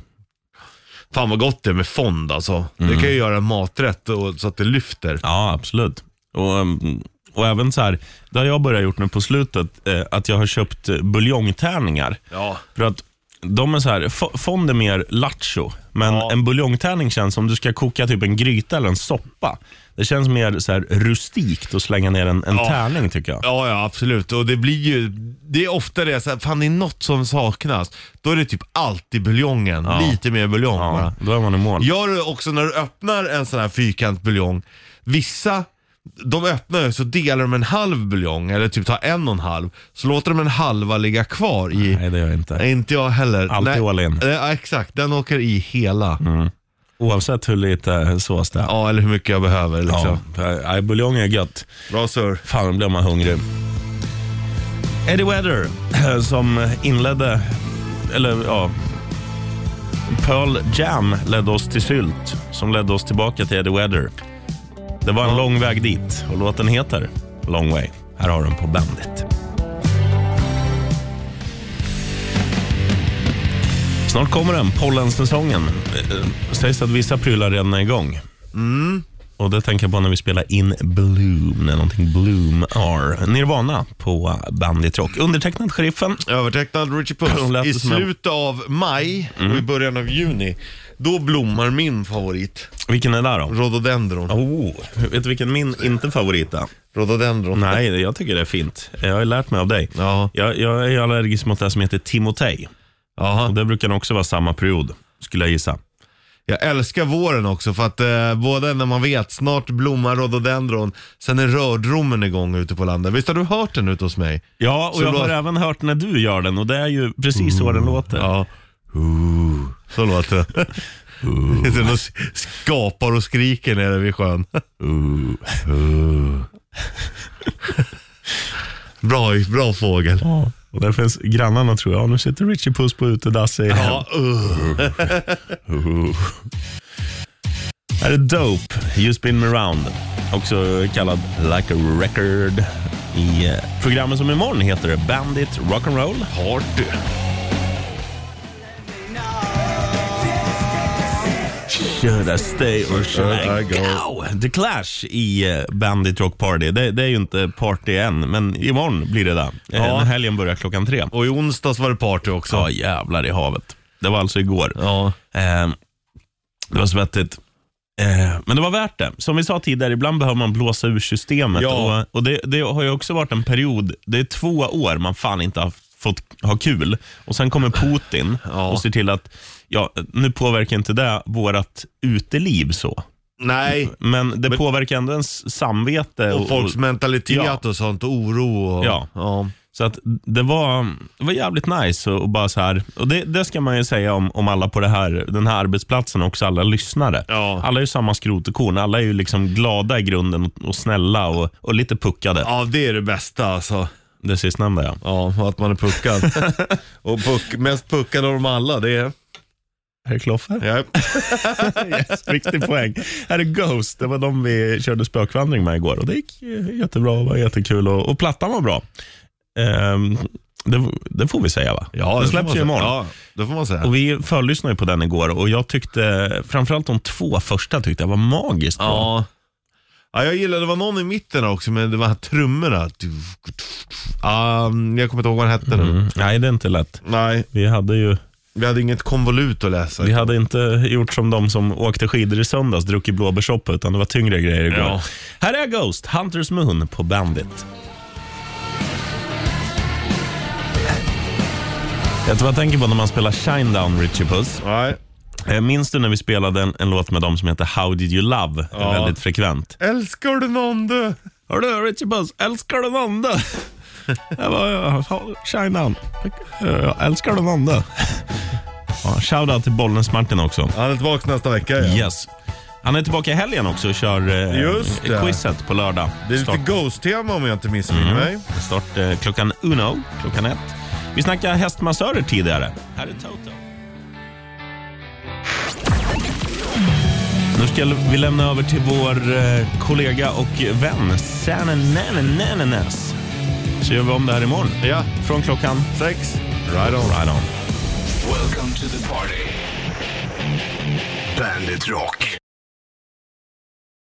[SPEAKER 3] Fan vad gott det är med fond alltså. Det
[SPEAKER 2] Mm.
[SPEAKER 3] kan ju göra en maträtt och, så att det lyfter.
[SPEAKER 2] Ja, absolut. Och, mm, och även så här, det har jag börjat gjort nu på slutet, eh, att jag har köpt eh, buljongtärningar.
[SPEAKER 3] Ja.
[SPEAKER 2] För att de är så här, fo- fond är mer lattjo, men
[SPEAKER 3] Ja.
[SPEAKER 2] en buljongtärning känns som du ska koka typ en gryta eller en soppa. Det känns mer så här rustikt att slänga ner en, en
[SPEAKER 3] Ja.
[SPEAKER 2] tärning tycker jag.
[SPEAKER 3] Ja, ja absolut. Och det blir ju, det är ofta det så här, fan det är något som saknas. Då är det typ alltid buljongen. Lite mer buljong bara.
[SPEAKER 2] Ja, då är man i mål.
[SPEAKER 3] Gör du också när du öppnar en sån här fyrkant buljong, vissa de öppnar ju så delar de en halv buljong eller typ tar en och en halv. Så låter de en halva ligga kvar i...
[SPEAKER 2] Nej, det gör jag inte.
[SPEAKER 3] Nej, inte jag heller.
[SPEAKER 2] Alltid
[SPEAKER 3] Nej.
[SPEAKER 2] all in. Mm.
[SPEAKER 3] Eh, Ja, exakt. Den åker i hela.
[SPEAKER 2] Oavsett hur lite sås det är.
[SPEAKER 9] Ja, eller hur mycket jag behöver. Liksom.
[SPEAKER 2] Ja, eh, buljong är gött.
[SPEAKER 3] Bra sir.
[SPEAKER 2] Fan, nu blev man hungrig. Eddie Weather som inledde, eller ja, Pearl Jam ledde oss till Sylt som ledde oss tillbaka till Eddie Weather. Det var en lång väg dit och låten heter Long Way. Här har den på bandet. Snart kommer den, pollensäsongen. Eh, eh, Sägs att vissa prylar redan är igång. Och det tänker jag på när vi spelar In Bloom, när någonting Bloom är. Nirvana på Bandit Rock. Undertecknad Sheriffen.
[SPEAKER 3] Övertecknad Richie
[SPEAKER 2] Hon lät
[SPEAKER 3] Puss.
[SPEAKER 2] det
[SPEAKER 3] I
[SPEAKER 2] som en- Mm.
[SPEAKER 3] slutet av maj och i början av juni, då blommar min favorit.
[SPEAKER 2] Vilken är det då?
[SPEAKER 3] Rhododendron.
[SPEAKER 2] Oh, vet du vilken min inte favorit är?
[SPEAKER 3] Rhododendron.
[SPEAKER 2] Nej, jag tycker det är fint. Jag har ju lärt mig av dig.
[SPEAKER 3] Ja.
[SPEAKER 2] Jag, jag är ju allergisk mot det som heter Timotej. Och
[SPEAKER 3] Jaha.
[SPEAKER 2] det brukar nog också vara samma period, skulle jag gissa.
[SPEAKER 3] Jag älskar våren också för att eh, både när man vet, snart blommar rhododendron, sen är rördromen igång ute på landet. Visst har du hört den ute hos mig?
[SPEAKER 2] Ja, och
[SPEAKER 3] Så
[SPEAKER 2] jag Mm,
[SPEAKER 3] då-
[SPEAKER 2] har även hört när du gör den och det är ju precis så den låter.
[SPEAKER 3] Ja. Ooh. Så låter det. Sitter den och s- skapar och skriker nere vid sjön. Ooh. bra, bra fågel.
[SPEAKER 2] Ja, Och där finns grannarna tror jag. Ja, nu sitter Richie Puss på utedass i
[SPEAKER 3] Ja, uh.
[SPEAKER 2] Här är Dope, You Spin Me Round. Också kallad Like a Record. I eh, programmet som imorgon heter det Bandit Rock'n'Roll. Party. Should I stay or should I go? The Clash i eh, Bandit Rock Party. Det, det är ju inte party än, men imorgon blir det där. Ja. När helgen börjar klockan tre.
[SPEAKER 3] Och i onsdags var det party också.
[SPEAKER 2] Ja, jävlar i havet. Det var alltså igår.
[SPEAKER 3] Ja.
[SPEAKER 2] Eh, det var svettigt. Eh, men det var värt det. Som vi sa tidigare, ibland behöver man blåsa ur systemet.
[SPEAKER 3] Ja.
[SPEAKER 2] Och, och det, det har ju också varit en period, det är två år man fan inte har fått ha kul. Och sen kommer Putin och ser till att, ja, nu påverkar inte det vårt uteliv så.
[SPEAKER 3] Nej,
[SPEAKER 2] Men det påverkar ändå ens samvete.
[SPEAKER 3] och folks mentalitet
[SPEAKER 2] Ja.
[SPEAKER 3] och sånt, och oro och...
[SPEAKER 2] Ja.
[SPEAKER 3] ja.
[SPEAKER 2] Så att det var, det var jävligt nice och, och bara så här. Och det, det ska man ju säga om, om alla på det här, den här arbetsplatsen och också alla lyssnare.
[SPEAKER 3] Ja.
[SPEAKER 2] Alla är ju samma skrot och korn. Alla är ju liksom glada i grunden och, och snälla och, och lite puckade.
[SPEAKER 3] Ja, det är det bästa alltså.
[SPEAKER 2] Det sistnämnda ja.
[SPEAKER 3] Ja, och att man är puckad. och puck, mest puckad av dem alla, det är...
[SPEAKER 2] Herr Kloffer.
[SPEAKER 3] Ja.
[SPEAKER 2] Viktig poäng. Här är Ghost. Det var de vi körde spökvandring med igår och det gick eh, jättebra och var jättekul och, och plattan var bra. Ehm, det, det får vi säga va? det
[SPEAKER 3] får man
[SPEAKER 2] släpps ju
[SPEAKER 3] säga.
[SPEAKER 2] imorgon.
[SPEAKER 3] Ja, det får man säga.
[SPEAKER 2] Och vi förlyssnade ju på den igår och jag tyckte, framförallt de två första tyckte jag var magiskt bra.
[SPEAKER 3] Ja. ja, jag gillade, det var någon i mitten också, men det var trummorna. Um, jag kommer inte ihåg vad den hette nu.
[SPEAKER 2] Mm. Nej, det är inte lätt.
[SPEAKER 3] Nej,
[SPEAKER 2] Vi hade ju
[SPEAKER 3] vi hade inget konvolut att läsa.
[SPEAKER 2] vi hade inte gjort som de som åkte skidor i söndags, druckit blåbärssoppa, utan det var tyngre grejer igår.
[SPEAKER 3] Ja.
[SPEAKER 2] Här är Ghost, Hunters Moon på Bandit. Jag tror jag tänker på när man spelar Shinedown, Richie Puss.
[SPEAKER 3] Nej.
[SPEAKER 2] Eh, Minns du när vi spelade en, en låt med dem som heter How Did You Love?
[SPEAKER 3] Ja.
[SPEAKER 2] Väldigt frekvent.
[SPEAKER 3] Älskar du någon du?
[SPEAKER 2] Hördu, Richie Puss, älskar du Nanda? Jag bara, ja, shine on. Ja, Älskar du Nanda? Ja, Shoutout till Bollnäs-Martin också.
[SPEAKER 3] Han är tillbaka nästa vecka. Ja.
[SPEAKER 2] Yes. Han är tillbaka i helgen också och kör eh,
[SPEAKER 3] Just det.
[SPEAKER 2] quizet på lördag.
[SPEAKER 3] Det är lite
[SPEAKER 2] Start,
[SPEAKER 3] Ghost-tema om jag inte missminner mig.
[SPEAKER 2] start eh, klockan uno, klockan ett. Vi snackade hästmassörer tidigare. Här är Toto. Nu ska vi lämna över till vår eh, kollega och vän Sanne Nananas. Så gör vi om det här imorgon.
[SPEAKER 3] Ja,
[SPEAKER 2] Från klockan
[SPEAKER 3] sex. Right on.
[SPEAKER 2] right on.
[SPEAKER 1] Welcome to the party. Bandit Rock.